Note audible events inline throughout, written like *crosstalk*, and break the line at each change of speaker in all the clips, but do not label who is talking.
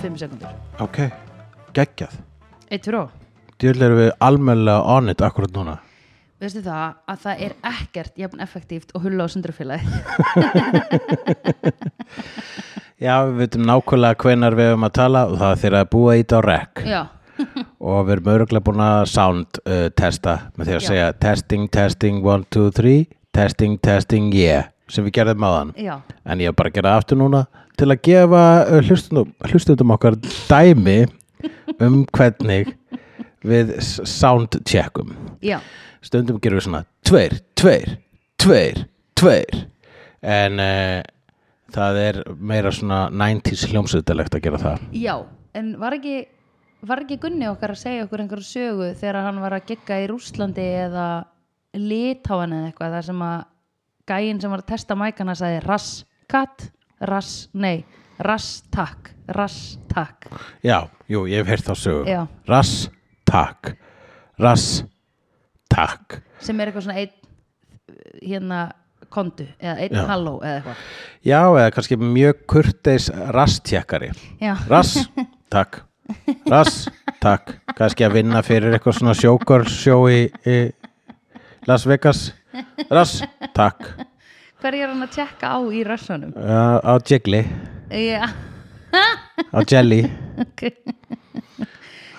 fimm sekundur
Ok, geggjað
Eitt fyrir og
Djúl erum við almennlega on it akkurat núna
Veistu það að það er ekkert jafn effektíft og hulla á sundurfélagi
Já, við veitum nákvæmlega hvenar við erum að tala og það er þeirra að búa ít á rec
*laughs* Já,
og við erum örgulega búin að sound uh, testa með því að
Já.
segja testing, testing, one, two, three testing, testing, yeah sem við gerðum á þann
já,
en ég er bara að gera það aftur núna til að gefa uh, hlustendum, hlustendum okkar dæmi um hvernig við s- sound checkum
já
stundum gerum við svona tveir, tveir, tveir, tveir en uh, það er meira svona 90s hljómsveitalegt að gera það
Já, en var ekki var ekki Gunni okkar að segja okkur einhverju sögu þegar hann var að gegga í Rúslandi eða Litáan eða eitthvað þar sem að gæinn sem var að testa mækana sagði rass katt, rass, nei rass takk, rass takk
já, jú, ég hef heyrt þá sögu
Já.
rass, takk rass, takk
sem er eitthvað svona einn hérna kondu eða einn
Já.
halló eða eitthvað
já, eða kannski mjög kurteis rasstjekkari
Já,
rass, takk rass, takk kannski að vinna fyrir eitthvað svona showgirls show í, í Las Vegas rass, takk
hver er hann að tjekka á í rassanum?
uh, á Jiggly
Já,
á Jelly
ok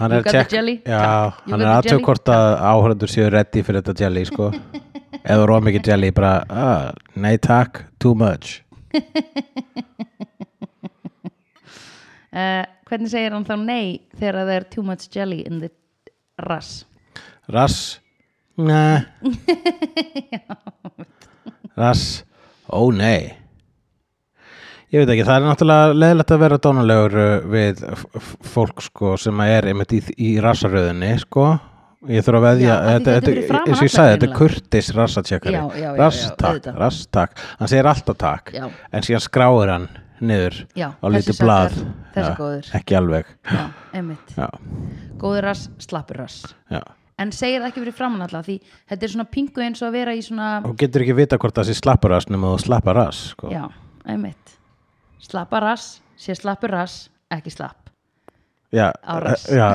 hann
You got
er að
the
check-
jelly?
já,
Takk. You
hann
got
er
the
aðtöð
jelly?
hvort að áhörður séu ready fyrir þetta jelly
*laughs*
sko. eða róa mikið jelly bara, ah, nei takk, too much
Uh, hvernig segir hann þá nei þegar það er too much jelly in the rass?
rass, nei *laughs* rass, ó nei ég veit ekki, það er náttúrulega leðilegt að vera dónulegur uh, við f- f- fólk sko, sem að er einmitt í, í rassaröðinni sko ég þurf að veðja
Já, af því þetta er fyrir framan
eins og ég
alla
sagði, þetta
greinilega.
er kurtis rassatjekkari
Já, já, já, já,
rass takk,
auðvitað.
rass takk hann segir alltaf takk,
Já.
en síðan skráir hann niður
Já,
á
þessi samt
lítið
er-
blað
þessi
Já,
góður.
ekki alveg
Já, einmitt.
já,
Góður rass, slappur rass.
já.
En segir það ekki fyrir framann alltaf því þetta er svona pingu eins og að vera í svona,
og getur ekki vita hvort það sé slappar rass nema þú slappar rass sko.
já, einmitt. Slappa rass, sé slappur rass, ekki slapp.
já,
Á rass.
eh, já.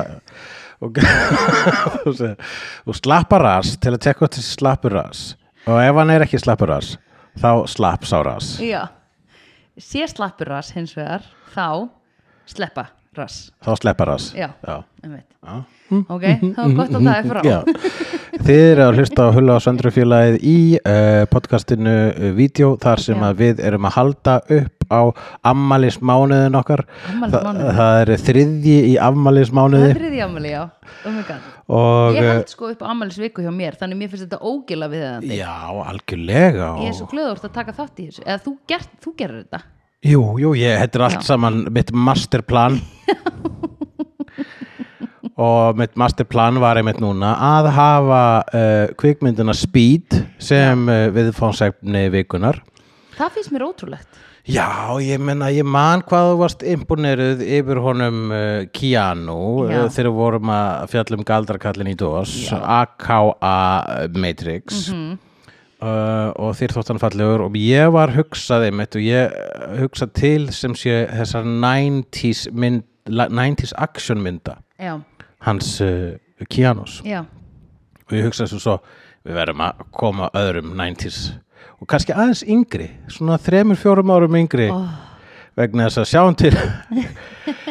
Og, *laughs* og, segir, og slappa rass til að tekka til slappur rass og ef hann er ekki slappur rass þá slapp sá rass
Já. Sé slappur rass hins vegar, þá sleppa rass.
þá sleppar rass
Já.
Já.
Einmitt.
Já.
Ok, þá er gott að það er frá.
Já. Þið eru að hlusta á Hulla og Söndrufélagið í uh, podcastinu uh, Vídeó þar sem
Já.
að við erum að halda upp á ammælismánuðin okkar
Afmælismánuðinn.
Þa, Það er þriðji í
Það
ammælismánuði
er þriði ammali, já. Oh my god.
og
Ég
eh,
held sko upp á ammælisviku hjá mér, þannig mér finnst þetta ógila við það.
Já, algjörlega
Ég er
og,
svo glöður að taka þátt í þessu eða þú, gert, þú gerir þetta
Jú, jú, ég, þetta er allt
Já.
saman mitt masterplan
*laughs*
og mitt masterplan var einmitt núna að hafa uh, kvikmyndina Speed sem uh, viðfánsefni vikunar
það finnst mér ótrúlegt
Já, ég menna, ég man hvað þú varst imponeruð yfir honum uh, Keanu
Já.
uh, þegar við vorum að fjalla um galdrakallin í DOS, AKA Matrix uh, og þér þótt hann fallegur og ég var hugsaði mitt og ég uh, hugsa til sem sé þessar 90s, mynd, la- 90s action mynda
já,
hans uh, Keanu's
já,
og ég hugsaði svo svo við verðum að koma öðrum 90s og kannski aðeins yngri svona þremur, fjórum árum yngri
Oh.
vegna þess að sjáum
*laughs*
til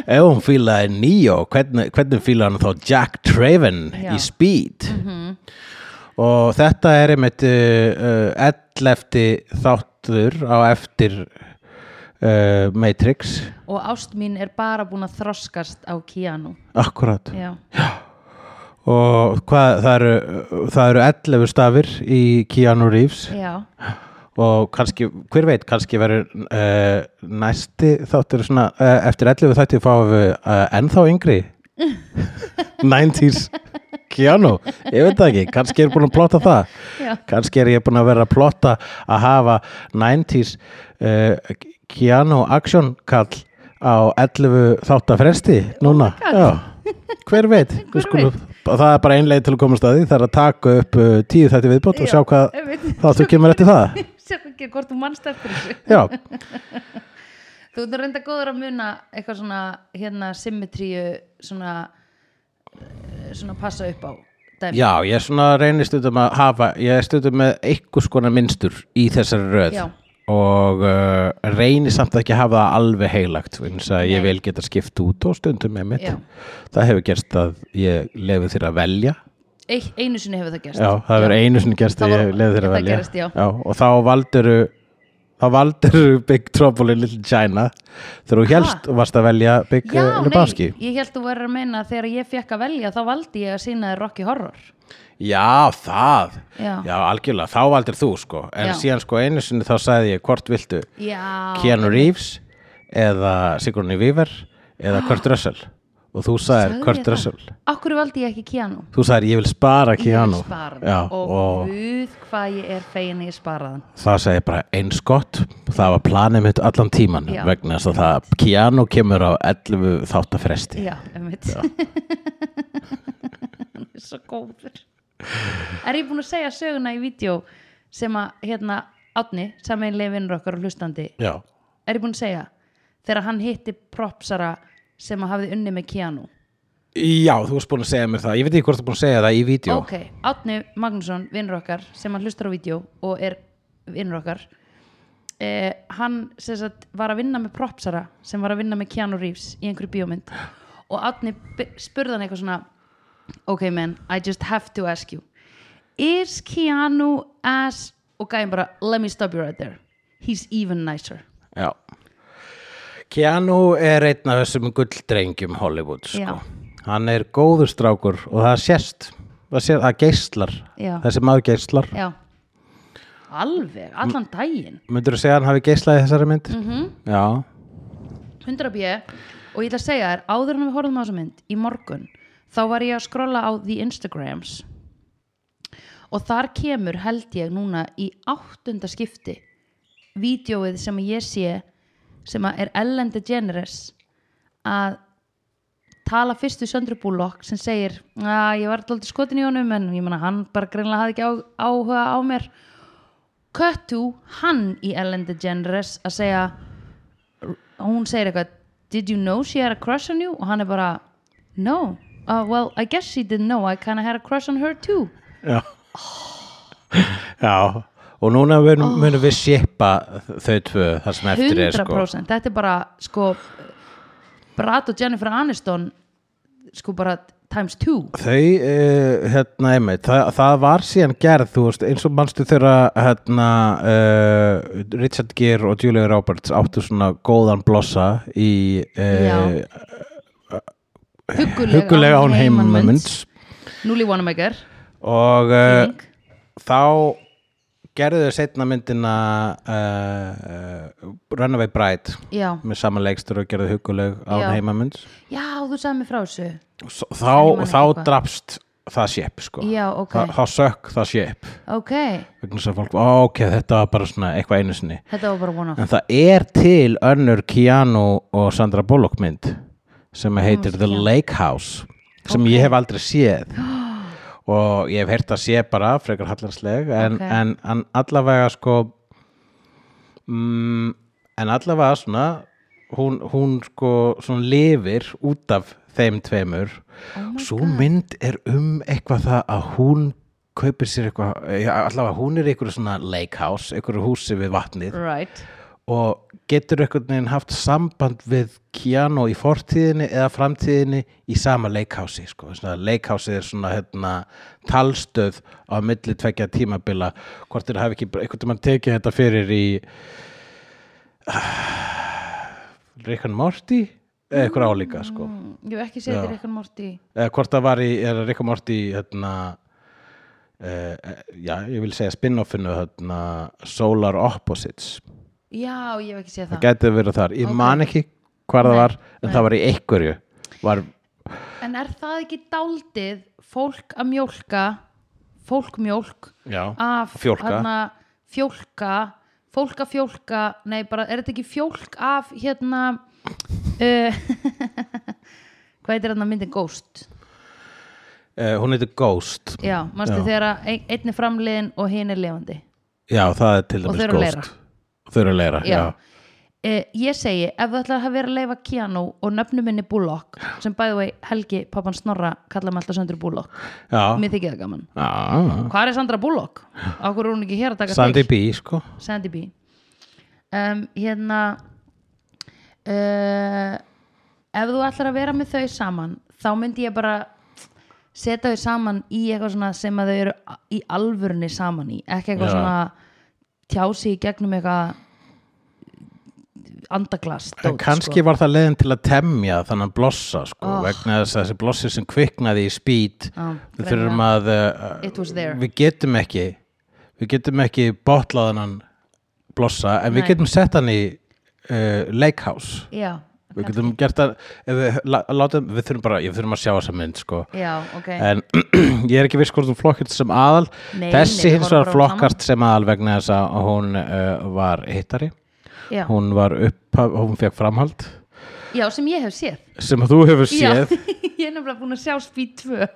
ef hún fílaði Neo hvernig, hvernig fílaði hann þá Jack Traven
Já. Mhm.
í Speed og þetta er einmitt uh, uh, 11. þáttur á eftir uh, Matrix
og ást mín er bara búin að þroskast á Keanu
akkurat
já,
og hvað, það eru, það eru 11 stafir í Keanu Reeves
já,
og kannski, hver veit, kannski verður uh, næsti þáttur svona, uh, eftir 11 þætti fáum við uh, ennþá yngri *laughs* 90s Keanu, ég veit það ekki, kannski er búin að plotta það
Já.
kannski er ég búin að vera að plotta að hafa 90s uh, Keanu action kall á 11 þáttafresti núna *laughs* Já. hver veit, Oh hver skulum, það er bara einlega til að komast að því, það er að taka upp uh, tíu þætti viðbót og sjá hvað
einmitt. *laughs*
þáttur kemur eftir það
sér ekki hvort þú mannst eftir þessu
Já,
Þú ert reynda góður að muna eitthvað svona hérna symmetríu svona eh, svona passa upp á dæmi.
Já, ég svona reynir stundum að hafa, ég er stundum með einhvers konar minnstur í þessari röð
Já.
og uh, reynir samt ekki að hafa það alveg heilagt eins að ég
Nei.
vil geta skipt út og stundum með mitt.
Já.
Það hefur gerst að ég lefi þér að velja.
Eitt, einu sinni hefur það gerst.
Já, það hefur einu sinni gerst
Það
að
var-
ég lefi þér að
það
velja.
gerist, já.
og þá valduru þá valduru Big Trouble in Little China þegar þú helst og varst að velja Big
Já,
eh, Lebowski.
nei, ég held þú verður að meina að þegar ég fekk að velja þá valdi ég að sína þér Rocky Horror.
Já, það.
Já.
algjörlega, þá valdir þú sko. En
Já. Ah,
síðan sko einu sinni þá sagði ég hvort viltu
Já.
Keanu Reeves eða Sigourney Weaver eða Kurt Russell. Og þú sagðir
Ah. Sagði ég
Kurt
það?
Russell.
Akkur valdi ég ekki Keanu?
Þú sagðir ég vil spara Keanu.
Ég sparaði.
Já,
og,
og
guð hvað ég er fegin að ég sparaðan.
það segi bara eins gott það var planið mitt allan tíman
Já.
vegna þess að það Keanu kemur á 11 þáttafresti
Já, einmitt. *laughs* Hann er svo góður. Er ég búin að segja söguna í vídeo sem að, hérna, Átni, sameinlega vinnur okkar og hlustandi,
Já.
er ég búin að segja þegar hann hitti propsara sem að hafði unni með Keanu.
Já, þú varst búin að segja mér það ég veit ekki hvort þú er búin að segja það í vídeo
Ok, Átni Magnússon, vinnur okkar sem hann hlustar á vídeo og er vinnur okkar eh, hann sem sagt, var að vinna með propsara sem var að vinna með Keanu Reeves í einhverju bíómynd og Átni b- spurði hann eitthvað svona ok man, I just have to ask you is Keanu as og gæði bara, let me stop you right there he's even nicer
Já Keanu er einn af þessum gulldrengjum Hollywood sko.
Já.
hann er góður strákur og það sést það, sé, það geislar,
Já.
þessi maður geislar
já alveg, allan daginn
myndur þú segja að hann hafi geislað í þessari mynd? Mm
Mhm.
-hmm. Já
100 b og ég ætla að segja þér áður en við horfum á þessa mynd í morgun þá var ég að skrolla á The Instagrams og þar kemur held ég núna í áttunda skipti vídeóið sem ég sé sem að er Ellen DeGeneres að tala fyrst við Söndru Bullock sem segir að ég var alltaf skotin í honum en ég manna hann bara greinlega hafði ekki á, áhuga á mér köttu hann í Ellen DeGeneres að segja og hún segir eitthvað did you know she had a crush on you og hann er bara no, uh, well I guess she didn't know I kinda had a crush on her too
Já Já Og núna munum, munum við sépa þau tvö þar sem eftir er
100%
sko.
þetta er bara sko Brad og Jennifer Aniston sko bara times two
Þau, uh, hérna, einmitt, það, það var síðan gerð, þú veist, eins og manstu þegar hérna, uh, Richard Gere og Julia Roberts áttu svona góðan blossa í uh,
Já. huggulega,
hugulega án heimamunds
Núli Wanamaker
og uh,
King.
þá gerðu þau setna myndina uh, uh, Runaway Bride
já.
með sama leikstur og gerðu huguleg án
Já.
heimamunds
já, þú sagði mér frá þessu
S- þá,
man
þá
ekki hvað.
drafst það sépp sko.
Já, ok.
Þa- þá sökk það sépp
ok,
vegna þess að fólk, "Ó, ok, þetta var bara svona eitthvað einu sinni
þetta var bara one *laughs* off
en það er til önnur Keanu og Sandra Bullock mynd sem heitir The Lake House sem ég hef aldrei séð og ég hef heyrt að sé bara frekar hallarsleg en,
Ok.
en, en allavega sko mm, en allavega svona hún, hún sko svona lifir út af þeim tveimur
oh my
Svo
god.
mynd er um eitthvað það að hún kaupir sér eitthvað, já, allavega hún er í einhverju svona lake house, einhverju húsi við vatnið
right
og getur einhvern veginn haft samband við Keanu í fortíðinni eða framtíðinni í sama leikhási sko. Svona leikhási er svona hérna, talstöð á milli tvekja tímabila hvort þeir hafi ekki bara einhvern veginn tekið þetta fyrir í *sighs* Rick and Morty eða eitthvað álíka sko
mm, ég hef ekki segið þér eitthvað morti
eða hvort það var í, er Rick og Morty hérna Uh, já, ég vil segja spin-offinu hérna, Solar Opposites
já, ég hef ekki segið það
gæti verið þar, ég man ekki hvar það var en það var í einhverju var,
En er það ekki dáldið fólk að mjólka fólkmjólk
já,
af
Fjólka.
fjólka fólk að fjólka, nei bara er þetta ekki fjólk af hérna uh, *laughs* hvað heitir hérna myndin Ghost
uh, hún heitir Ghost
já, manstu
Já.
þegar að ein- einn er framliðin og hinn er lifandi
já, það er til
Og
dæmis
þau eru að
Ghost
leira.
þau eru að leira, já,
já. eh, ég segi, ef þú ætlar að vera að leifa Keanu og nöfnum minni Bullock sem bæði vei Helgi, pappan Snorra kallar mig alltaf Sandra Bullock,
já,
mér þykir það gaman
já
Hvar er Sandra Bullock? Akkur er hún ekki hér að taka
Sandy
til?
B, sko
Sandy B um, Hérna uh, Ef þú ætlar að vera með þau saman þá myndi ég bara setja þau saman í eitthvað svona sem að þau eru a- í alvörunni saman í ekki eitthvað
Já.
svona tjási í gegnum eitthvað andaglast sko.
En kannski var það leiðin til að temja þannig að blossa sko,
Oh.
vegna þess að þessi blossi sem kviknaði í speed
Já,
við þurfum að
Ah.
eh,
It was there.
við getum ekki við getum ekki botlaðan hann blossa, en við
Nei.
getum sett hann í uh, leikhouse
Já,
við getum gert það ef við, lá- látum, við þurfum bara, ég þurfum að sjá þessa mynd sko.
já, ok
en *clears throat* ég er ekki viss hvort hún flokkist sem aðal
Nei, nei,
þessi
við
hins
vorum bara
vegar
saman.
flokkast sem aðal vegna þess að hún uh, var hittari
já.
hún var upp, hún fekk framhald
já, sem ég hef séð
sem að þú hefur séð
Já, *laughs* ég er nefnilega búin að sjá Speed 2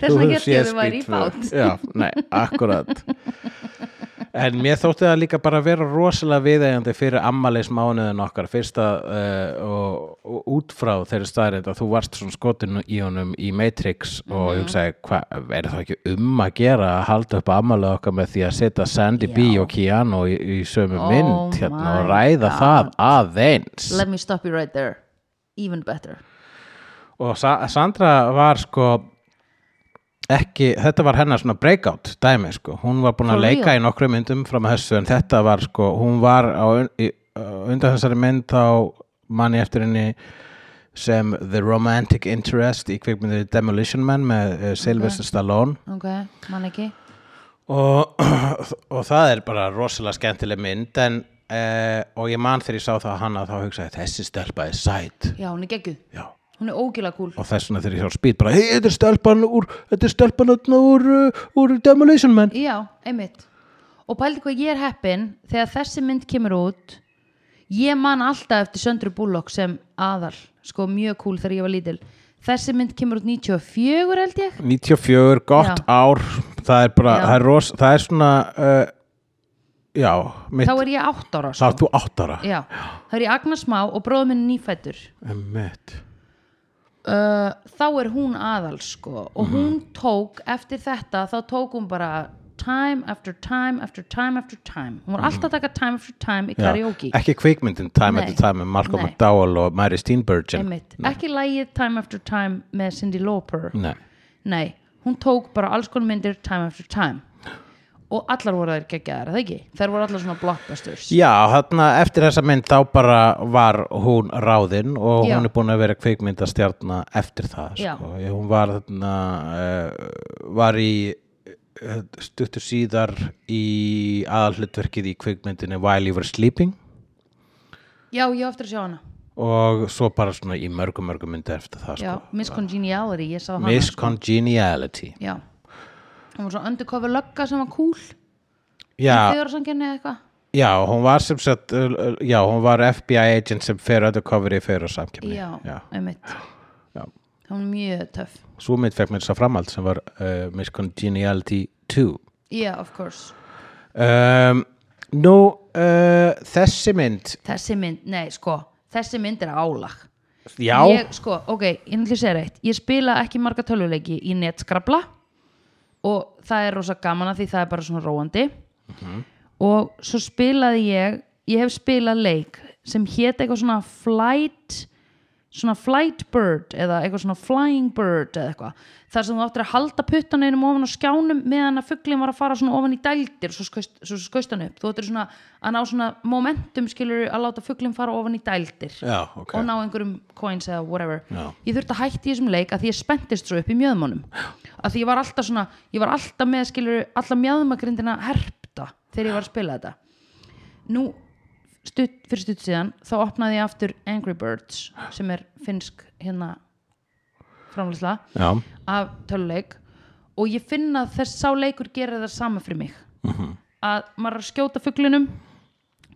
Þú
þess vegna
hefur
hétt ég
séð
að þau væri í
Speed
bát
2. Já, nei, akkurat En mér þótti það líka bara vera rosalega viðeigandi fyrir ammælismánuðin okkar fyrsta uh, og, og út frá þeirri staðrind að þú varst svona skotin í honum í Matrix og
Mhm.
ég hugsaði, hvað er það ekki um að gera að halda upp ammælið okkar með því að setja Sandy B
Já.
og Keanu í, í sömu
Oh
mynd hérna og
my
ræða það aðeins
Let me stop you right there Even better
og Sa Sandra var sko ekki, þetta var hennar svona breakout dæmi sko, hún var búin
For
að
real?
leika í nokkru myndum fram að þessu en þetta var sko, hún var á un í, uh, undan þessari mynd þá manni eftir henni sem The Romantic Interest í kvikmyndið Demolition Man með uh, Sylvester Stallone
Ok, mann ekki
og, *clears throat* og það er bara rosalega skemmtileg mynd en Uh, og ég man þegar ég sá það hana þá hugsaði þessi stelpa er sæt
Já, hún er gegguð
já,
Hún er ógila kúl
og þess vegna þegar ég hjá spýt bara hei, þetta er stelpan úr, þetta er stelpan þarna úr, uh, úr Demolition Man
Já, einmitt Og pældi hvað ég er heppin Þegar þessi mynd kemur út Ég man alltaf eftir Söndru Bullock sem aðal Sko mjög kúl þegar ég var lítil Þessi mynd kemur út 94 held ég
94, gott
Já.
ár það er bara,
Já.
það er, ros, það er svona uh, já, mitt
Þá er ég 8 ára
þá
sko.
ert þú áttara
Já, þá er ég Agnes Má og bróðum minn er nýfæddur
mitt,
uh, þá er hún aðal sko og
Mhm.
hún tók eftir þetta þá tók hún bara time after time after time after time hún var alltaf að taka time after time í karaoke
Mhm. ekki kvikmyndin Time
Nei.
After Time með Malcolm
Nei.
McDowell og Mary Steenburgen
einmitt, ekki lægið time after time með Cindy Lauper
Nei.
nei, hún tók bara alls konar myndir time after time og allar voru þær geggjaðar, er það ekki? þær voru allar svona blockbusters
já, þarna eftir þessa mynd þá bara var hún ráðinn og
Já.
hún er búin að vera kvikmyndastjarna eftir það
Já.
sko. hún var þarna uh, var í eh, stuttu síðar í aðalhlutverkið í kvikmyndinni While You Were Sleeping
já, ég á eftir að sjá hana
og svo bara svona í mörgum mörgum myndi eftir það
já,
sko.
Miss Congeniality, ég sá hana
Miss Congeniality
já, hún var svona undercover lögga sem var cool
já,
þegar sanginni eða eitthvað
já, hún var sem sagt eh, eh, já, hún var FBI agent sem fer undercover í fyrir samkjöfni
já,
já.
einmitt
Já.
hún er mjög töff
svo mynd fekk mér þess að framhald sem var uh, Miss Congeniality 2
yeah, of course
um, Nú, uh, þessi mynd
þessi mynd, nei sko, þessi mynd er álag
Já,
ég, sko, ok, ég ætla að segja reitt ég spila ekki marga töluleiki í netskrabla og það er rosa gaman að því það er bara svona róandi og svo spilaði ég ég hef spilað leik sem hét eitthvað svona flight svona flight bird eða eitthvað svona flying bird eða eitthvað þar sem þú áttir að halda puttaninum ofan á skjánum meðan að fugglin var að fara svona ofan í dældir svo skaust, svo skaust hann upp þú áttir svona að ná svona momentum skilur að láta fugglin fara ofan í dældir
já ok
og ná einhverjum coins eða whatever
Já.
ég þurfti að hætti þessum leik að því ég spenntist svo upp í mjöðmónum að því ég var alltaf svona ég var alltaf með skilur alla mjöðmagrindina herpta þegar ég var að spila þetta nú stutt, fyrir stutt síðan þá opnaði ég aftur Angry Birds sem er finnsk hérna framlýsla
Já,
af töluleik og ég finn að þess sá leikur gerir það sama fyrir mig
Mhm.
að maður er að skjóta fuglinum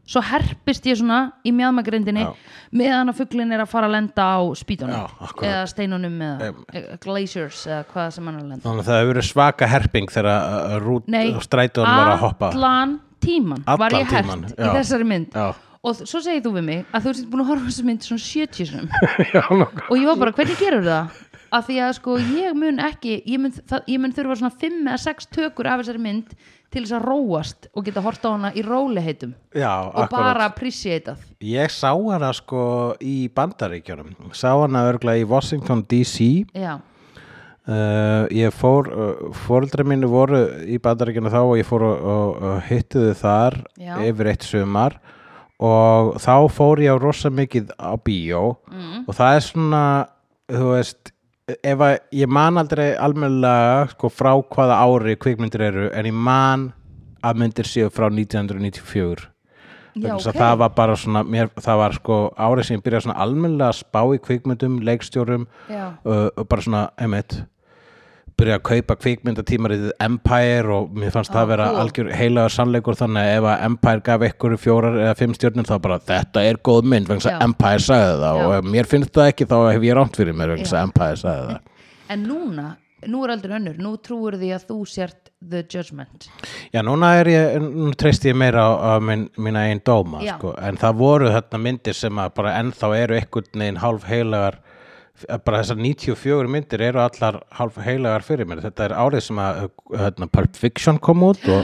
svo herpist ég svona í mjadmagrindinni
Já.
meðan að fuglin er að fara að lenda á spýtunum
Já, akkurat.
eða steinunum eða um, glaciers eða hvað sem hann er að lenda
þannig að það hefur verið svaka herping þegar uh, rút
Nei,
strætóðan var að hoppa
allan tíman
Allan
var ég hert
tímann,
í
já.
þessari mynd
Já.
og þ- svo segir þú við mig að þú ert búin að horfa á þessu mynd svona 70 sinum
*laughs* já, nokkuð.
og ég var bara, hvernig gerur það? Af því að sko, ég mun ekki ég mun, það, ég mun þurfa svona 5 eða 6 tökur af þessari mynd til þess að róast og geta horta á hana í róliheitum
já
og
akkurat.
bara appreciate það
Ég sá hana sko í bandaríkjunum, sá hana örgla í Washington DC,
Já,
uh, ég fór, uh, fóreldra mínu voru í bandaríkjunum þá og ég fór og, og, og hitti þau þar
Já.
yfir eitt sumar og þá fór ég á rosa mikið á bíó
Mm.
og það er svona, þú veist, ef að ég man aldrei almennilega sko frá hvaða ári kvikmyndir eru en ég man að myndir séu frá 1994
já
vegna þess
ok
að það var bara svona mér, það var sko árið sem ég byrjaði svona almennilega að spá í kvikmyndum, leikstjórum
Já.
uh, og bara svona, einmitt byrjaði að kaupa kvikmyndatímaritið Empire og mér fannst það vera
Ah, cool.
algjör heilagur sannleikur þannig að ef að Empire gaf ykkur fjórar eða fimm stjórnum þá bara þetta er góð mynd vegna þess
Já.
að Empire sagði það
Já.
og ef mér finnst það ekki þá hef ég rámt fyrir mér vegna þess
Já.
að Empire sagði það
En núna, nú er aldrei önnur Nú trúir því að þú sért the judgment
Já, núna er ég, nú treysti ég meira á, á minn, mína einn dóma,
Já.
sko, en það voru þarna myndir sem að bara ennþá eru einhvern veginn hálf heilagar, bara þessar 94 myndir eru allar hálf heilagar fyrir mér. Þetta er árið sem að hérna, Pulp Fiction kom út
*gasps*
og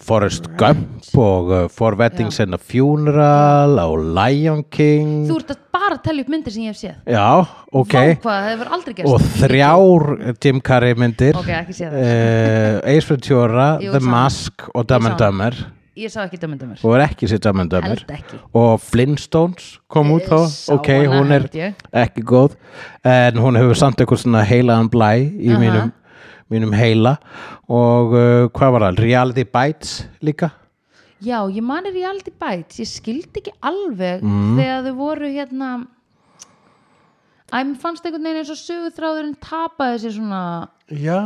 Forrest Gump og uh, For Weddings and a Funeral og Lion King.
Þú ert að bara telja upp myndir sem ég hef séð
Já, Mm. ok.
Vá hvað, það hefur aldrei gerst
Og þrjár Jim Carrey myndir.
Ok, ekki séð það
Uh, Ace Ventura,
Jú,
The
sá hana.
Mask og
Ég
Dumb and
sá hana.
Dumber
Ég sá ekki dömyndumur
og er ekki sitt samendamur
Held ekki.
og Flintstones kom út þá
sá
ok,
hana,
hún er
held ég.
ekki góð en hún hefur samt eitthvað svona heilaðan blæ í
Aha.
mínum, mínum heila og uh, hvað var það, Reality Bites líka
Já, ég manir í aldrei bæt Ég skildi ekki alveg
Mm.
þegar þau voru hérna Æ, mér fannst einhvern veginn eins og sögutráðurinn tapaði sér svona
já,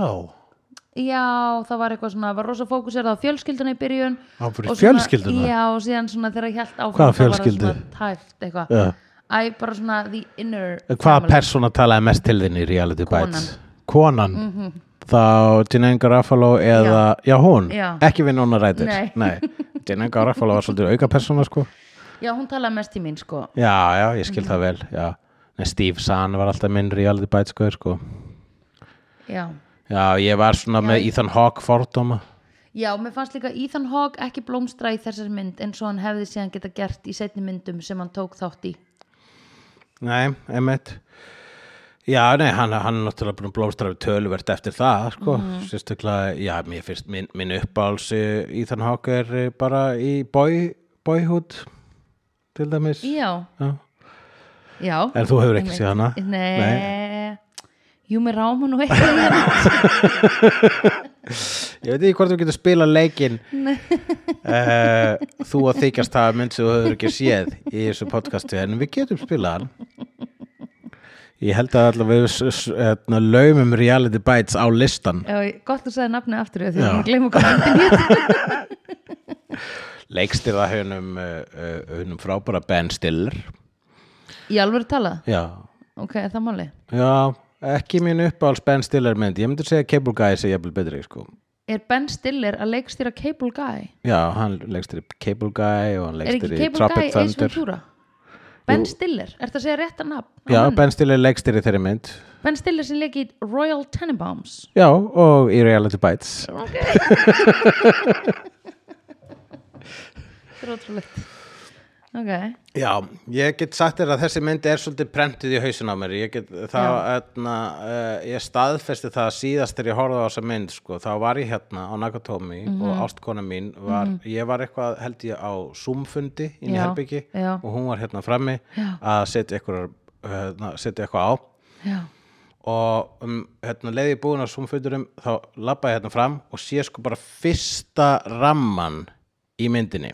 Já, það var eitthvað svona, var rosa fókusir á fjölskylduna í byrjun
Á, fyrir
og svona-
fjölskylduna?
Já, og síðan svona þegar ég held áfram
Hvaða
þá var það
fjölskyldu?
svona Tæft eitthvað
Já. Eh,
Æ, bara svona the inner
hvaða
family.
persóna talaði mest til þinn í Reality
Konan.
Bites konan þá Janine Garofalo eða, já, hún
Mhm. Já.
ekki við núna rætir
Nei.
Janine Garofalo var svolítið auka persóna sko
Já, hún talaði mest í mín sko
Já, já, ég skil það vel, já. Nei, Steve Zahn var alltaf minn reality bite sko, sko.
Já,
Já, ég var svona með Ethan Hawke fordóma.
já mér fannst líka Ethan Hawke ekki blómstra í þessari mynd eins og hann hefði síðan geta gert í setni myndum sem hann tók þátt í
Nei, einmitt. Já, nei, hann, hann er náttúrulega búin að blómstra við töluvert eftir það, sko. Sérstaklega, já, mér finnst minn, minn uppáls Ethan Hawke er eh, bara í boy, boyhood, til dæmis.
Já,
Já.
já
En þú hefur ekki séð hana?
Nei, Jú, mér ráma nú eitthvað í hana. *laughs*
Ég veit ekki hvort þú getur spila
*laughs*
leikinn uh, þú að þykjast hafa mynd sem þú höfður ekki séð í þessu podcasti en við getum spilað hann Ég held að allavega við s- s- hérna, laumum reality bites á listan
Já, Gott að segja nafni aftur af því
Já.
að ég gleyma hvað myndin hétt
leikstir það hönum, uh, hönum frábæra Ben Stiller
Í alvöru talað,
Já,
ok, er það máli
Já ekki mín uppáhalds Ben Stiller mynd ég myndi segja Cable Guy sé jafnvel betri sko
Er Ben Stiller að leikstýra Cable Guy?
Já, hann leikstir í Cable Guy og hann
Er ekki
leikstir í
Cable Guy
Tropic
Ace
Thunder
Ventura? Ben Stiller, ertu að segja rétt að nafn?
Já, Ben Stiller leikstir í þeirri mynd
Ben Stiller sem leik í Royal Tenenbaums
Já, og í Reality Bites
Þetta er ótrúlegt Ok,
Já, ég get sagt þér að þessi mynd er svolítið prentið í hausin á mér ég, get, það, etna, uh, ég staðfesti það síðast þegar ég horfði á þessa mynd sko. þá var ég hérna á Nakatomi
Mhm.
og ástkona mín var, ég var eitthvað held ég á Zoom-fundi inn í
Já,
herbyggi
já.
og hún var hérna frammi
Já.
að setja eitthvað, hérna, setja eitthvað á
já,
og um, hérna, leið ég búin á Zoom-fundurum þá labba ég hérna fram og sé sko bara fyrsta ramman í myndinni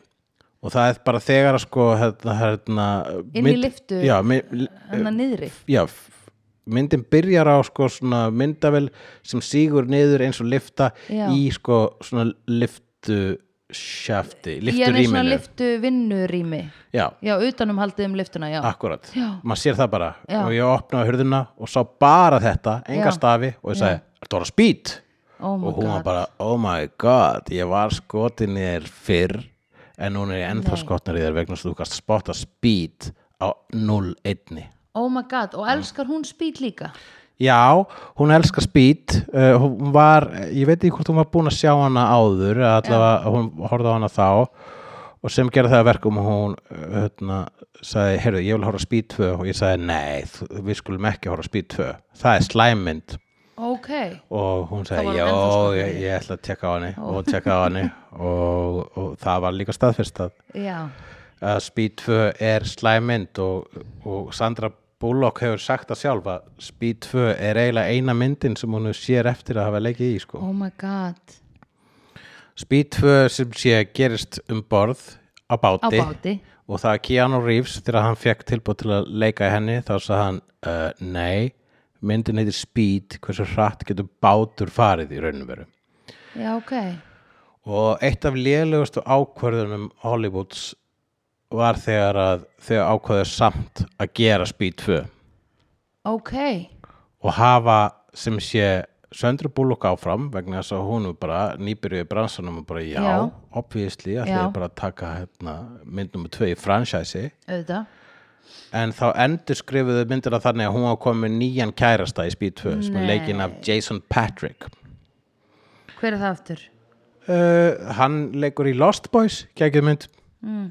og það er bara þegar að sko hérna, hérna,
Inn í lyftu,
já, mynd,
hann að niðri
já, f- myndin byrjar á sko svona myndavel sem sígur niður eins og lifta
Já.
í sko svona liftu sjafti,
Ég er svona
lifturýminu
liftu vinnurými
já,
Já, utanum haldið um liftuna, já
Akkurat,
Já.
maður sér það bara
Já.
og ég opnaði hurðina og sá bara þetta enga
Já.
stafi og ég sagði, ertu orða spýt?
Oh my
og hún var
god
bara, oh my god ég var skotin í þér fyrr en hún er
Nei.
ennþá skotnar í þér vegna þess að þú kannst spotta speed á 0-1
oh my god, og elskar hún spýt líka
Já, hún elskar speed uh, hún var, ég veit ekki hvort hún var búin að sjá hana áður eða allavega hún horfði á hana þá og sem gerði það að verkum að hún uh, hérna, sagði, heyrðu, ég vil horfa á speed 2 og ég sagði, nei, þú- við skulum ekki horfa á speed 2, það er slæmynd
ok,
og hún
Þá var hún
sagði, já,
ennþá skotnari í
ég,
þér."
ég ætla að tjekka á henni og hún tjekkaði á henni og, og það var líka staðfyrst að
já
að Speed 2 er slæmynd og, og Sandra Bullock hefur sagt það sjálf að Speed 2 er eiginlega eina myndin sem hún sér eftir að hafa leikið í sko.
oh my god,
Speed 2 sem sé gerist um borð á
á
báti,
báti
og það er Keanu Reeves þegar hann fekk tilbúið til að leika í henni þá sagði hann uh, nei, myndin heitir Speed hversu hratt getur bátur farið í raunum veru
já ok,
og eitt af lélegustu ákvörðunum Hollywoods var þegar að þegar ákvörðu samt að gera Speed 2
ok
og hafa sem sé Söndru Bullock áfram vegna þess að hún er bara nýbyrjuð í bransanum og bara já,
Já.
obviously að
Já.
þið bara að taka hérna, mynd nummer 2 í franchise
auðvitað,
en þá endur skrifuðu myndina þannig að hún var komið nýjan kærasta í Speed 2 sem er
Nei.
leikinn af Jason Patrick
hver er það aftur
uh, hann leikur í Lost Boys geggjuð mynd
Mm.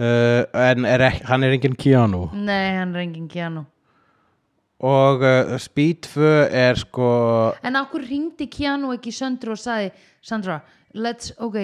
uh, en er ekki, hann er engin Keanu
nei, hann er engin Keanu
og uh, Speed 2 er sko
En okkur ringdi Keanu ekki Söndru og sagði Sandra, let's, ok,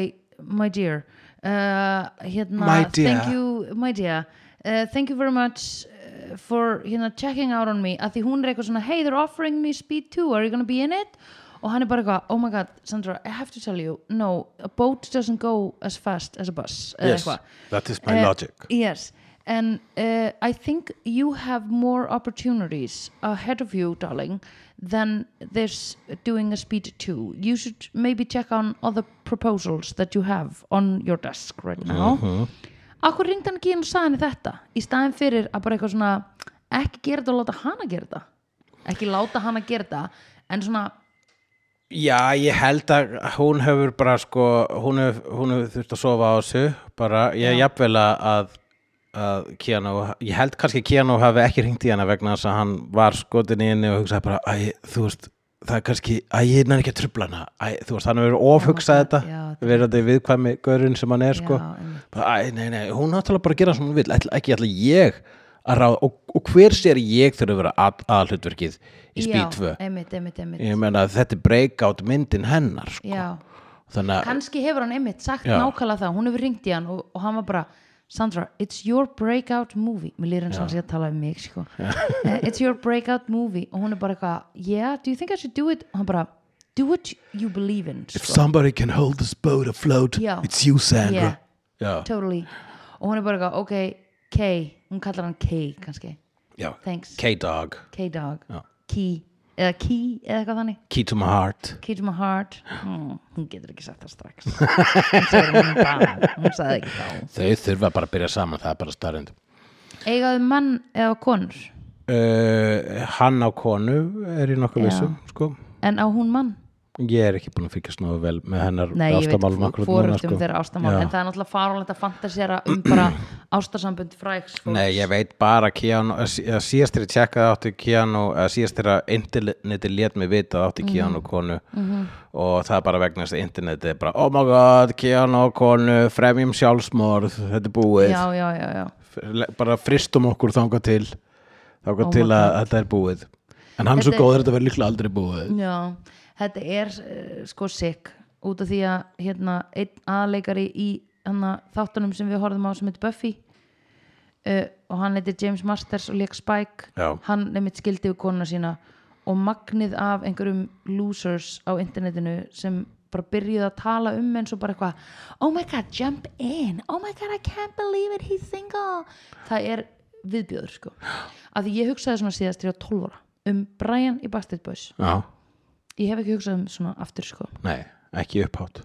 my dear uh, hérna,
My dear.
thank you my dear, uh, thank you very much uh, for, hérna, checking out on me að því hún er eitthvað svona, hey, they're offering me speed 2, are you gonna be in it? og hann er bara eitthvað, oh my god, Sandra, I have to tell you no, a boat doesn't go as fast as a bus, eða
yes,
eitthvað
that is my
Eh,
logic
Yes, and uh, I think you have more opportunities ahead of you, darling, than this doing a speed two. You should maybe check on other proposals that you have on your desk right now.
Uh-huh.
Akkur ringd hann ekki inn og sagði henni þetta í staðin fyrir að bara eitthvað svona ekki gera þetta og láta hana gera þetta ekki láta hana gera þetta en svona,
já, ég held að hún hefur bara sko hún hefur, hún hefur þurft að sofa á þessu bara, ég er jafnvel að- að að Keanu, ég held kannski að Keanu hafi ekki hringt í hana vegna þess að hann var skotin í henni og hugsaði bara, æ, þú veist það er kannski, æ, ég nær ekki að trubla hana æ, þú veist, hann hefur ofhugsað
Já,
þetta
já,
verðandi viðkvæmi gaurinn sem hann er sko,
Já, einmitt.
bara, æ, nei, nei, hún náttúrulega bara að gera sem hún vil, ætla, ekki ætla ég að ráða, og, og hver sér ég þurfa að vera að, að hlutverkið
já,
í Speed 2
einmitt, einmitt, einmitt
ég meina að þetta er breakout myndin hennar sko.
já,
þannig að
kannski hefur hann einmitt sagt
Já.
nákvæmlega það, hún hefur ringt í hann og, og hann var bara, Sandra, it's your breakout movie, mér lýr eins og hann sé að tala um mig sko, Eh, it's your breakout movie og hún er bara eitthvað, yeah, do you think I should do it og hann bara, do what you believe in
if
sko,
somebody can hold this boat afloat
Já.
it's you
yeah,
Sandra já,
totally og hún er bara eitthvað, ok, K hún kallar hann K kannski,
já.
thanks
K-Dog,
K-Dog,
Já.
Key eða Key eða eitthvað þannig
Key to my heart
Key to my heart mm, hún getur ekki sagt það
*laughs*
strax hún sagði hún bara, hún sagði ekki þá
þau þurfa bara að byrja saman, það er bara starrend
Eigaðu mann eða konur
uh, hann á konu er í nokkuð
Já.
vissum sko.
en á hún mann
ég er ekki búin að fylgjast nógu vel með hennar
Nei, ég veit,
ástamálum akkurat núna,
fóröldum
sko.
þeirra ástamál
Já.
en það er náttúrulega farulegt að fantasera um bara *clears throat* ástasambund fræks fólks.
Nei, ég veit bara Keanu, að sí- að síðast þeirra tjekkaði átti Keanu, að síðast þeirra interneti lét mig vita að átti Keanu
Mhm.
konu og það er bara vegna þess að interneti er bara, oh my god, Keanu konu, fremjum sjálfsmorð, þetta er búið
Já, já, já, já
Le- bara fristum okkur þangað til þangað
Oh
til
my
að þetta er búið en hann er svo
Þetta er-
góður að þetta verður líklega aldrei búið
Já, þetta er uh, sko sick út af því að hérna, einn aðleikari í hana, þáttunum sem við horfðum á sem heitir Buffy uh, og hann heitir James Masters og leik Spike
Já.
hann nefnitt skildi við konuna sína og magnið af einhverjum losers á internetinu sem bara byrjuði að tala um eins og bara eitthvað oh my god, jump in oh my god, I can't believe it, he's single það er viðbjöður sko að því ég hugsaði svona síðast til að 12 ára um Brian í Bastard Boys
Já,
ég hef ekki hugsað um svona aftur sko
nei, ekki upphátt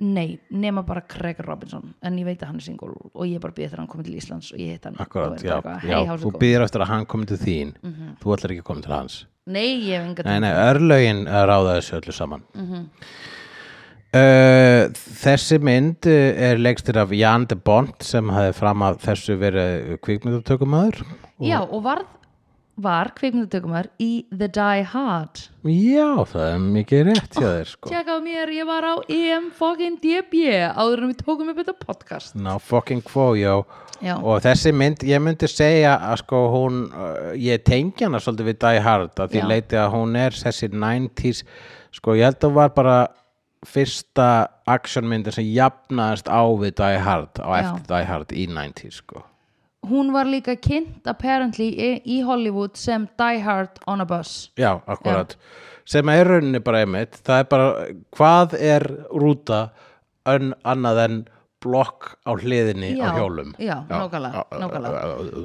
nei, nema bara Craig Robinson en ég veit að hann er single og ég bara býði þegar hann komið til Íslands og ég hitt hann og
Akkurat,
er
já,
bara eitthvað, Mhm.
já
hey, how's it
þú
going?"
býðir eftir að hann komi til þín þú ætlar ekki að koma til hans
nei, ég hef enga
eh, Nei, nei, örlögin ráða þessu öllu saman mm Uh, þessi mynd uh, er leikstir af Jan de Bont sem hafði fram að þessu verið eh, kvikmyndatökumæður
Já, og varð, var kvikmyndatökumar í The Die Hard
Já, það er mikið rétt hjá þér sko.
Tjekka á mér, ég var á EM fucking DB áður en við tókum upp þetta podcast
Ná, fucking kvó, já
Já.
Og þessi mynd, ég myndi segja að sko hún, uh, ég tengi hana svolítið við Die Hard að því
Já.
leiti að hún er þessi 90s sko, ég held að hún var bara fyrsta actionmyndin sem jafnaðist á við Die Hard á
Já.
eftir Die Hard í 90s sko
Hún var líka kynnt apparently í, í Hollywood sem Die Hard on a Bus
Já, akkurat sem er rauninni bara einmitt það er bara, hvað er rúta önn annað en blokk á hliðinni á hjólum
Já, nákvæmlega, nákvæmlega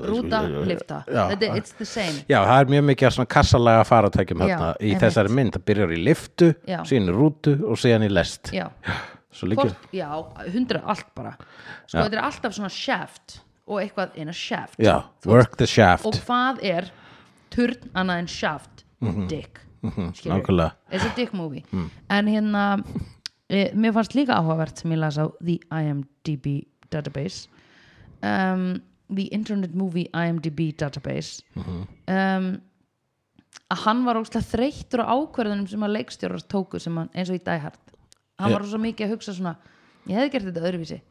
Rúta, lifta,
Já.
Þetta- it's the same
Já, það er mjög mikið af svona kassalaga faratækjum hérna
Já,
í
einmitt.
þessari mynd, það byrjar í liftu
Já.
síðan í rútu og síðan í lest
Já,
Svo líka,
Hvort, já hundra allt bara Sko, þetta er alltaf svona shaft og eitthvað in a shaft
já, work the shaft
og hvað er turn annað en shaft dick Skilurðu?
nákvæmlega
it's a dick movie
Hmm.
en hérna e, mér fannst líka áhugavert sem ég las á the IMDb database um, the internet movie IMDb database
Mhm.
um, að hann var óslega þreyttur á ákverðunum sem að leikstjórar tóku sem hann, eins og í Die Hard hann var svo mikið að hugsa svona ég hefði gert þetta öðruvísi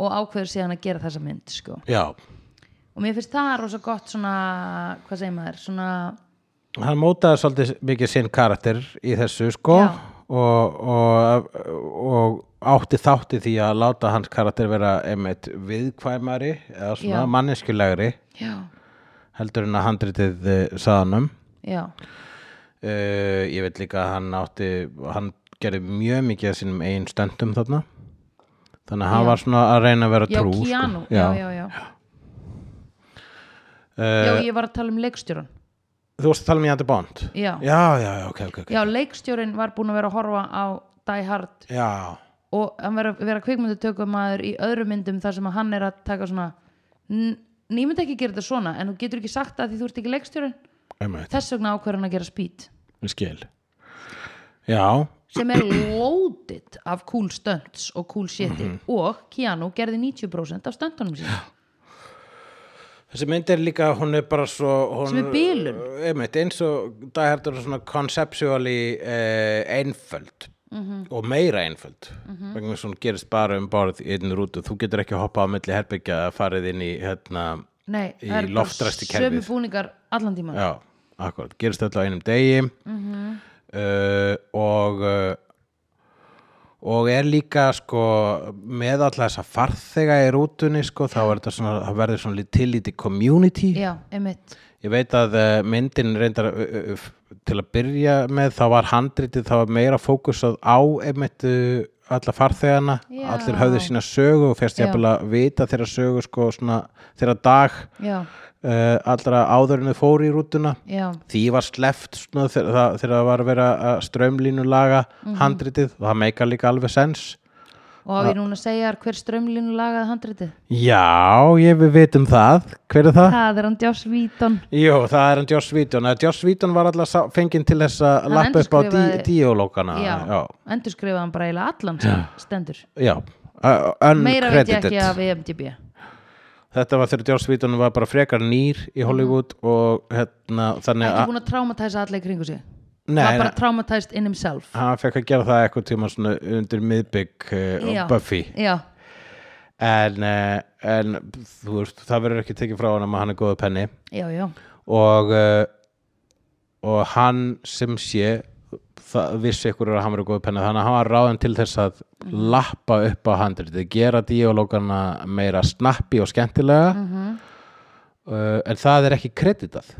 og ákveður síðan að gera þessa mynd sko
Já,
og mér finnst það rosa gott svona hvað segir maður, svona
hann mótaði svolítið mikið sinn karakter í þessu sko
Já.
og, og, og átti þátti því að láta hans karakter vera einmitt viðkvæmari eða svona
Já.
manneskjulegri
já,
heldur en að handritið eh, saðanum
já,
uh, ég veit líka að hann átti hann gerði mjög mikið af sínum einn stöndum þarna þannig að hann
Já.
var svona að reyna að vera
já,
trú
Keanu
sko.
já, já, já, já,
Uh,
ég var að tala um leikstjóran
þú varst að tala um Jandi Bond
Já.
já, já, já, ok, ok, ok
já, leikstjórin var búin að vera að horfa á Die Hard
já,
og hann vera, vera kvikmyndutökumæður í öðrum myndum þar sem að hann er að taka svona "N- en ég myndi ekki gera þetta svona en þú getur ekki sagt það því þú ert ekki leikstjórin
einmitt,
þess vegna ákveður hann að gera speed
ég skil já,
sem er loaded af cool stunts og cool shiti
Mhm.
og Keanu gerði 90% af stuntunum sín
Þessi mynd er líka, hún er bara svo hún,
Sem er bilun.
einmitt, eins og daghertur svona conceptually eh, einföld
Mhm.
og meira einföld vegna þess að hún gerist bara um borð í einn rútu, þú getur ekki hoppað á milli herbyggja að farið inn í hérna
Nei,
Í
það eru bara
loftræstikerfið.
sömu búningar allan tíman
já, akkurat, gerist þetta á einum degi
Mhm.
uh, og uh, og er líka sko með alla þessa farþega í rútunni sko, þá er þetta svona, það verður svona lítið lítið community
já einmitt
Ég veit að eh, myndin reyndar eh, eh, f- til að byrja með þá var handritið þá var meira fókusað á einmitt eh, alla farþegana
Já.
allir höfðu sína sögu og fyrst
Já.
jafnvel að vita þeirra sögu sko svona þeirra dag
Já,
uh, allra áður en þau fóru í rútuna
já,
því var sleft svona þegar það- þegar það var að vera að strömlínulaga
Mhm.
handritið og það meikar líka alveg sens
og á ég núna að segja þér hver strömlínu lagaði handritið
Já, ég við vitum það Hver er það?
Það er hann Joss Víton
Jú, það er hann Joss Víton Joss Víton var alltaf fenginn til þess að
Hann
lappa upp á dí,
endurskrifaði-
díólókana
Já, endurskrifaði hann bara eiginlega allan sem stendur
já. Uh,
Meira veit ég ekki
Uncredited
af E EMDB
Þetta var þegar Joss Víton var bara frekar nýr í Hollywood og hérna, þannig
Mhm. Ekki
að
búin að traumatæsa alla í kringu sig
Nei,
Var bara
nei. Ah.
traumatæst in himself
hann fekk að gera það eitthvað tíma svona undir miðbygg uh,
Já.
og Buffy
Já,
en, uh, en þú veist, það verður ekki tekið frá hann að hann er góðu penni
já, já
og uh, og hann sem sé það vissi ykkur að hann verið góð penna þannig að hann var ráðin til þess að
Mhm.
lappa upp á handritið, gera díológana meira snappi og skemmtilega
Mhm.
uh, en það er ekki kreditað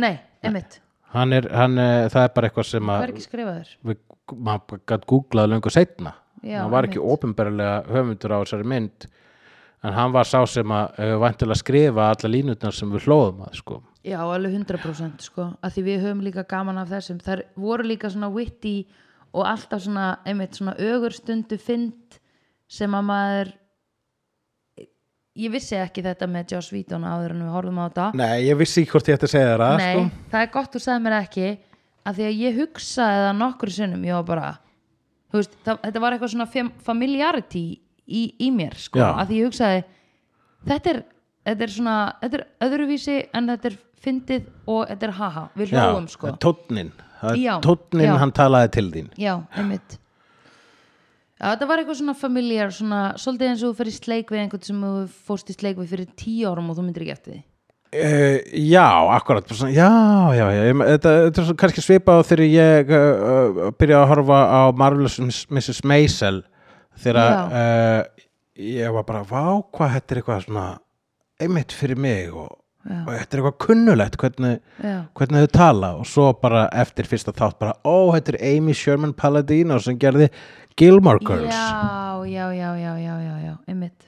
Nei, einmitt,
hann er, hann, uh, það er bara eitthvað sem
það er
að
ekki skrifaður
við, maður gætt googlað löngu setna
Já,
hann var ekki
einmitt.
ópenbarlega höfundur á þessari mynd en hann var sá sem að uh, vantilega skrifa alla línutnar sem við hlóðum að sko.
Já, alveg 100% sko, að því við höfum líka gaman af þessum þær voru líka svona witty og alltaf svona, einmitt svona ögurstundu fynd sem að maður ég vissi ekki þetta með Joss Víton áður en við horfum á þetta
Nei, ég vissi ekki hvort ég ætti að segja þér að
Nei,
sko.
það er gott þú sagði mér ekki að því að ég hugsaði það nokkur sinnum, ég var bara þú veist, það, þetta var eitthvað svona fam- familiarity í, í mér sko,
Já.
að því ég hugsaði þetta er, þetta er svona þetta er öðruvísi en þetta er fyndið og þetta er haha, við hlóum sko
tónnin
Já,
tónnin
já.
hann talaði til þín
já, einmitt Já, þetta var eitthvað svona familiar, svona svolítið eins og þú fyrir sleik við einhvern sem þú fórst í sleik við fyrir tíu árum og þú myndir ekki eftir því.
Uh, já, akkurat bara svona, já, já, já, ég, þetta, þetta er svo kannski svipað á þegar ég uh, uh, byrjaði að horfa á Marvelous Mrs. Maisel þegar uh, ég var bara, vá, hvað þetta er eitthvað svona einmitt fyrir mig og,
Já.
og þetta er eitthvað kunnulegt hvernig,
Já,
hvernig þau tala og svo bara eftir fyrsta þátt bara, ó, þetta er Amy Sherman Palladino sem gerði Gilmore Girls
já, já, já, já, já, já, já, einmitt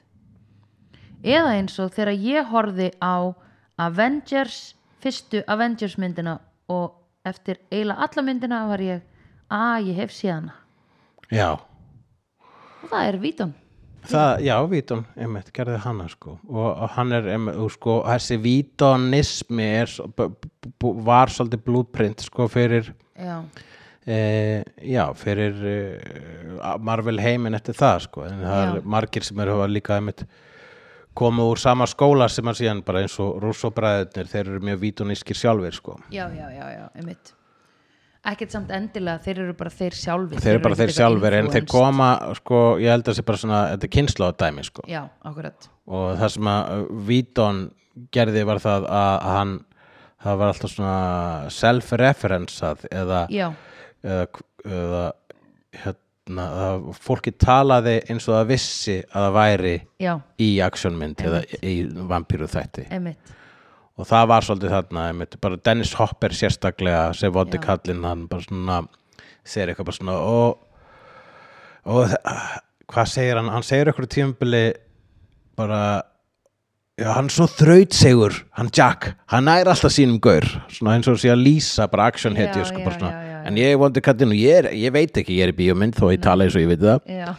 eða eins og þegar ég horfði á Avengers fyrstu Avengers myndina og eftir eiginlega alla myndina var ég að ég hef séð hana
Já.
og það er vítan
Það, já, Víton, einmitt, gerði hana sko og, og hann er, einmitt, og, sko, þessi Vítonismi er, svo- b- b- b- var svolítið blúprint sko fyrir,
já,
e, já, fyrir e, Marvel heiminn eftir það sko, en það
Já.
er margir sem eru hafa líka einmitt komu úr sama skóla sem að síðan bara eins og rússobræðurnir, þeir eru mjög vítonískir sjálfir sko.
já, já, já, já, einmitt ekkert samt endilega, þeir eru bara þeir sjálfir
Þeir eru bara
ekkert
þeir
eitthvað
sjálfir en þeir
influenced.
koma, sko, ég held að sé bara svona, þetta er kynnslóðdæmi sko.
já, akkurat,
og það sem að Víton gerði var það að að hann það var alltaf svona self-referensað eða,
já,
eða, eða hérna, að fólki talaði eins og það vissi að það væri
já,
í actionmynd eða í vampíru þætti
einmitt
og það var svolítið þarna einmitt, bara Dennis Hopper sérstaklega sem vondi
Já.
kallinn hann bara svona segir eitthvað bara svona og, og þa- hvað segir hann hann segir eitthvað tímabili bara já, hann er svo þrautsegur, hann Jack hann nær alltaf sínum gaur svona eins og sé að lýsa bara action
Já,
hetju sko,
já,
bara svona,
já, já, já.
en ég er vondi kallinn og ég, er, ég veit ekki ég er í bíómynd þó ég tala eins og ég veit það
já,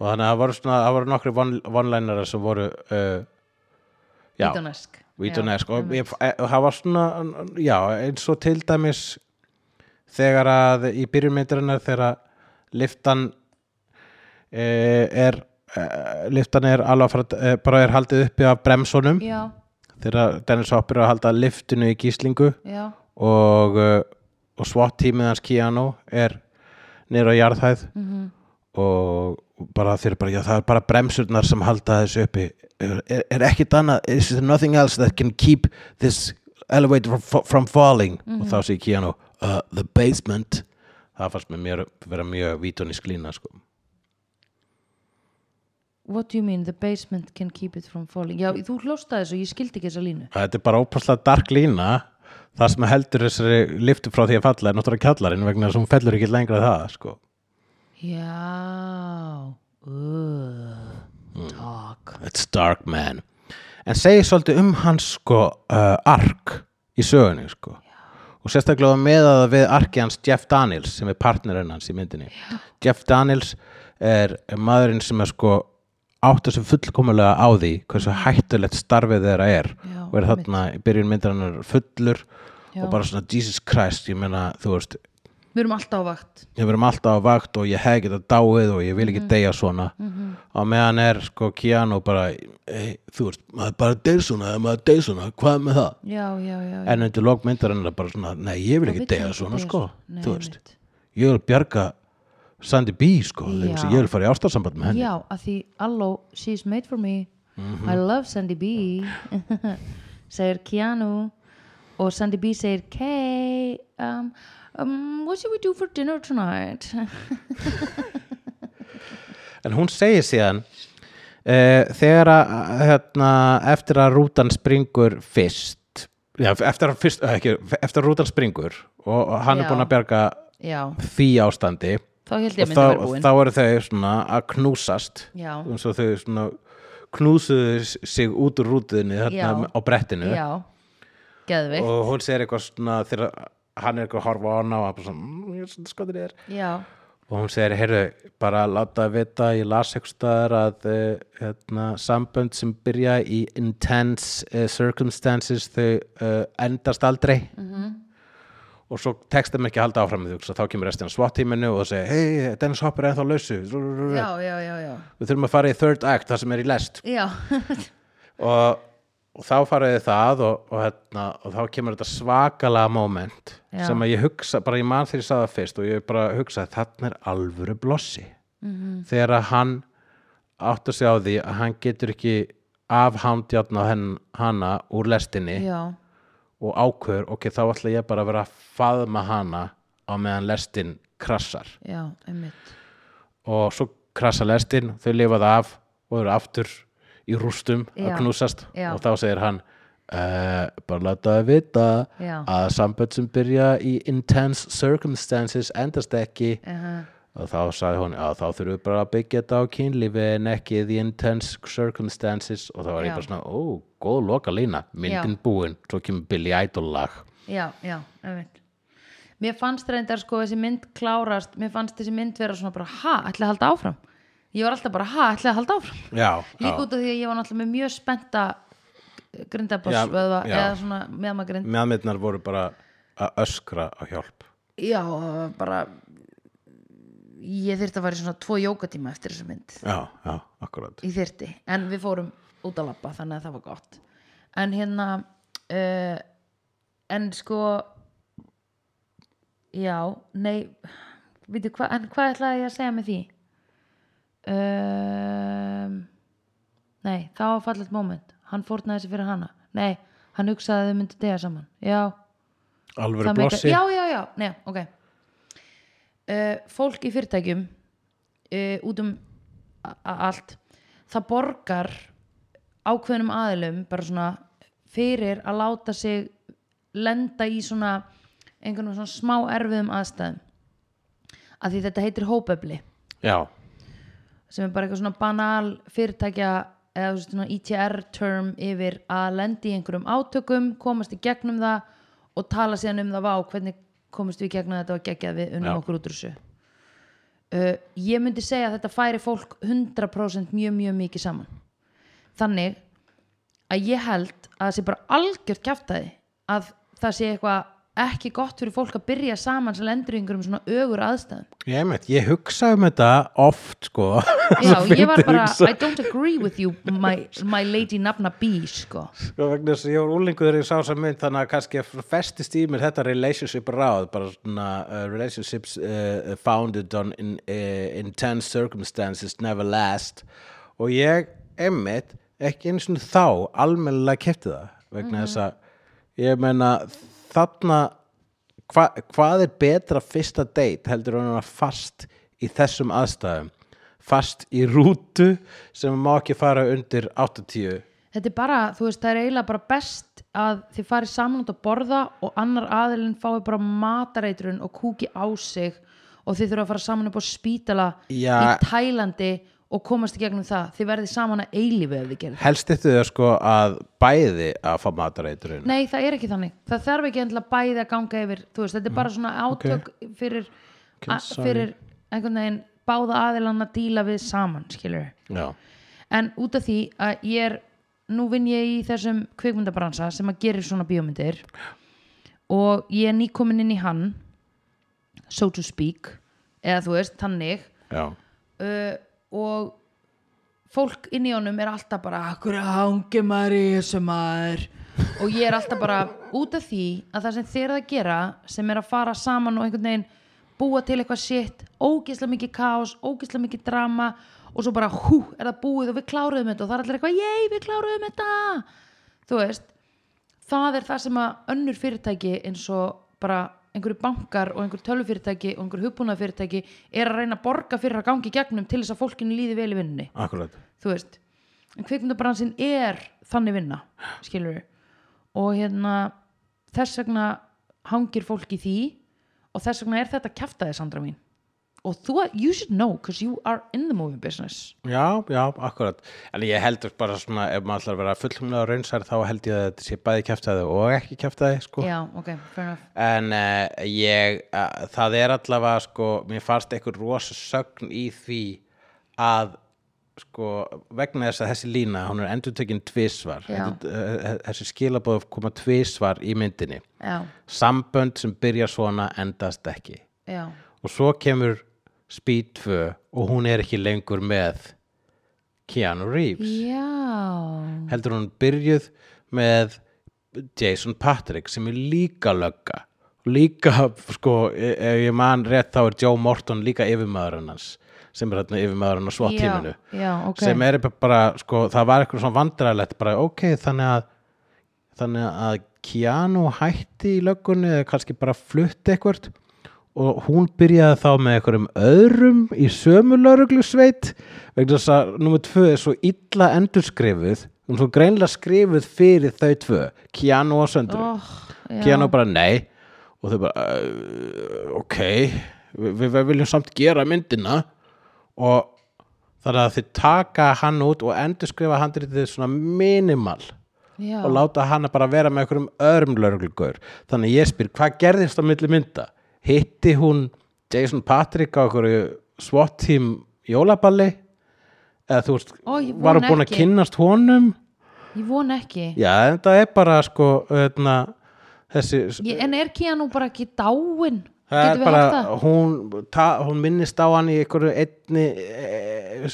og þannig að það voru, svona, það voru nokkri one-linerar sem voru uh, já,
vítanesk
Vítunesk og ég, e- það var svona já, eins og til dæmis þegar að í byrjumyndarinnar þegar að liftan e, er e, liftan er alveg að fara, e, bara er haldið uppi af bremsunum
já,
þegar að Dennis Hopper er að halda liftinu í gíslingu
já,
og, e, og SWAT tímið hans Keanu er nýra á jarðhæð
mhm
og bara þeir eru bara, já það er bara bremsurnar sem halda þessu uppi er, er, er ekkit annað, is there nothing else that can keep this elevator from, from falling og þá segir Keanu uh, the basement það fannst mér mér vera mjög vítónísk lína sko.
What do you mean, the basement can keep it from falling? Já, þú hlóstaði þessu, ég skildi ekki þessa línu.
þetta er bara ópaslega dark lína það sem heldur þessari liftu frá því að falla er náttúrulega kjallarinn vegna þess að hún fellur ekki lengra en það sko.
Já, uh,
Mm.
takk.
it's dark man en segir svolítið um hans sko uh, ark í sögunni sko og sérstaklega með að við arki hans Jeff Daniels sem er partnerinn hans í myndinni Jeff Daniels er er maðurinn sem er sko átt þessu fullkomulega á því hversu hættulegt starfið þeirra er
Já,
og er þarna í byrjun myndarinnar fullur
Já.
og bara svona Jesus Christ ég meina þú veist
Við erum alltaf á vakt.
ég verðum alltaf á vakt og ég hef ekki þetta dáið og ég vil
Mhm.
ekki deyja svona og meðan er sko Keanu bara hey, þú veist, maður bara deyr svona eða maður deyr svona, hvað með það?
Já, já, já. já.
En undir lókmyndarinn er bara svona, nei ég
Maður
vil ekki
vill
deyja svona
deyja
sko,
Nei,
þú veist
einmitt.
ég vil bjarga Sandy B sko, þegar
Já.
ég vil fara í ástarsamband með henni
Já, að því, alló, she's made for me.
Mhm.
I love Sandy B. *laughs* segir Keanu. Og Sandy B segir, Kay, um, um, what should we do for dinner tonight? *laughs*
En hún segir síðan uh, þegar að hérna, eftir að rútan springur fyrst já, eftir að, fyrst, eh, ekki, eftir að rútan springur og, og hann
Já.
er búin að bjarga
já,
því ástandi
þá held ég
og
að
þá,
mynda vera búin.
þá eru þau svona að knúsast
Já.
eins og þau svona knúsuðu s- sig út úr rútuðinni
Já.
þarna á brettinu
Já, geðvikt.
og hún segir eitthvað svona þegar hann er eitthvað að horfa á hana og hann bara svona, "Mm, ég er svona skotir þér
Já,
og hún segir, heyrðu, bara láta vita ég las eitthvað staðar að eh, hérna, sambönd sem byrja í eh, intense uh, circumstances þau uh, endast aldrei -hmm. eh, og svo textum ekki að halda áfram með því þá kemur restin SWAT-tíminu og segir hei, Dennis Hopper er ennþá lausu
já, já, já, já,
við þurfum að fara í third act það sem er í lest
já.
og, og þá faraði það og, og, hérna, og þá kemur þetta svakalega moment
Já.
sem að ég hugsa, bara ég man þegar ég sagði það fyrst og ég bara hugsaði þarna er alvöru blossi
Mhm.
-hmm. þegar að hann átt að segja á því að hann getur ekki afhandjarna henn, hana úr lestinni
já.
og ákveður, ok, þá ætla ég bara að vera að faðma hana á meðan lestin krassar
já, einmitt
og svo krasa lestin, þau lifað af og eru aftur í rústum
Já.
að knúsast
Já.
og þá segir hann uh, bara láta það vita
Já.
að sambönd sem byrja í intense circumstances endast ekki
uh
og þá sagði hún að þá þurfum við bara að byggja þetta á kynlífi en ekki the intense circumstances og þá var
Já.
ég bara svona, ó, góð loka lína myndin búin, svo kemur Billy Idol lag
já, já, einmitt mér fannst reyndar sko þessi mynd klárast mér fannst þessi mynd vera svona bara ha, ætlaði að halda áfram ég var alltaf bara ha, ætlaði að halda áfram
já,
líka út af því að ég var náttúrulega með mjög spennta
Já,
grindabass eða
já.
svona meðmagrind
meðmyndnar voru bara að öskra á hjálp
já, bara ég þyrfti að fara í svona tvo jókatíma eftir þessu mynd
já, já, akkurat
í þyrti en við fórum út að labba þannig að það var gott en hérna uh, en sko já, nei veitu, hva, en hvað ætlaði ég að segja með því um, nei, það var fallegt moment hann fórnaði sér fyrir hana nei, hann hugsaði að þau myndi dega saman já,
alvöru
Það
blossi
meikar- já, já, já, nei, ok uh, fólk í fyrirtækjum uh, út um a- a- allt það borgar ákveðnum aðilum bara svona fyrir að láta sig lenda í svona einhvern veginn svona smá erfiðum aðstæðum að því þetta heitir hópefli
já,
sem er bara eitthvað svona banal fyrirtækja eða þú veist, svona ITR term yfir að lendi í einhverjum átökum komast í gegnum það og tala síðan um það vá hvernig komist við í gegnum þetta og geggjað við unnum
Já.
okkur út úr þessu uh, ég myndi segja að þetta færi fólk 100% mjög mjög mikið saman þannig að ég held að það sé bara algjört kjaftaði að það sé eitthvað ekki gott fyrir fólk að byrja saman sem lendur í einhverjum svona ögur aðstæðum
ég einmitt, ég hugsaði um þetta oft sko
Já,
Svo
ég var
fyndið
bara,
hugsa-
I don't agree with you my, my lady nafna bý, sko
sko vegna þess að ég var úlingu þegar ég sá þess mynd þannig að kannski að festist í mér þetta relationship ráð bara svona uh, relationships uh, founded on in, uh, intense circumstances never last og ég einmitt ekki eins og þá almennilega kefti það vegna þess að ég meina þarna hva, hvað er betra fyrsta date heldur hann að vera fast í þessum aðstæðum fast í rútu sem má ekki fara undir 80
Þetta er bara, þú veist, það er eiginlega bara best að þið farið saman út að borða og annar aðilinn fái bara matareitrun og kúki á sig og þið þurfa að fara saman upp á spítala
Já.
í Tælandi og komast í gegnum það þið verðið saman að eilífu ef þið gerir það
helst þetta þau sko að bæði að fá matareiturinn
Nei, það er ekki þannig, það þarf ekki endilega bæði að ganga yfir, þú veist, þetta er bara svona átök fyrir, a,
Mm, sorry.
fyrir einhvern veginn báða aðilann að díla við saman, skilur
já,
en út af því að ég er nú vinn ég í þessum kvikmyndabransa sem að gerir svona bíómyndir og ég er nýkomin inn í hann so to speak eða þú veist, þannig
já,
uh, og fólk inn í honum er alltaf bara akkur hangi maður í þessu maður og ég er alltaf bara út af því að það sem þeir eru að gera sem er að fara saman og einhvern veginn búa til eitthvað sitt, ógeðslega mikið kaos ógeðslega mikið drama og svo bara hú, er það búið og við kláruðum þetta og það er allir eitthvað, jei, við kláruðum þetta þú veist, það er það sem að önnur fyrirtæki eins og bara einhverju bankar og einhverju tölvufyrirtæki og einhverju hugbúnafyrirtæki er að reyna að borga fyrir að gangi gegnum til þess að fólkinu líði vel í vinnunni
akkurat
þú veist en kvikmyndabransin er þannig vinna skilur og hérna þess vegna hangir fólk í því og þess vegna er þetta kjaftaði Sandra mín og þú, you should know because you are in the movie business
já, já, akkurat en ég heldur bara svona ef maður ætlar að vera fullumlega raunsær þá held ég að þetta sé bæði kjæftæði og ekki kjæftæði sko
já, ok, fair enough
en uh, ég uh, það er allavega sko, mér fannst eitthvað rosa sögn í því að sko, vegna þess að þessi lína hún er endurtökin tvisvar
Já.
Þetta- eh, þessi skilabóð koma tvisvar í myndinni
já,
sambönd sem byrja svona endast ekki
já
og svo kemur Speed 2 og hún er ekki lengur með Keanu Reeves
já,
heldur hún byrjuð með Jason Patrick sem er líka lögga líka, sko, e- ef ég man rétt þá er Joe Morton líka yfirmaðurinn hans sem er þarna yfirmaðurinn á svott
já,
tíminu
já, ok
sem er bara, sko, það var eitthvað svona vandræðilegt, bara ok, þannig að þannig að Keanu hætti í löggunni eða kannski bara flutti eitthvert og hún byrjaði þá með einhverjum öðrum í sömu lauruglusveit vegna þess að nummer tvö er svo illa endurskrifuð hún er svo greinlega skrifuð fyrir þau tvö Keanu og Söndru
oh, já,
Keanu bara nei og þau bara uh, ok, Vi, við viljum samt gera myndina og þannig að þau taka hann út og endurskrifa handritið svona minimal
já,
og láta hana bara vera með einhverjum öðrum lögreglugur þannig að ég spyr, hvað gerðist á milli mynda? Hitti hún Jason Patrick á einhverju SWAT team jólaballi? eða þú veist,
Ó, ég
var hún
vona
búin að
ekki.
kynnast honum?
ég vona ekki
Já, þetta er bara sko, öðna, þessi
ég, en er Keanu bara ekki dáin
Það er
getum við
bara,
haft það
hún, ta, hún minnist á hann í einhverju einni e,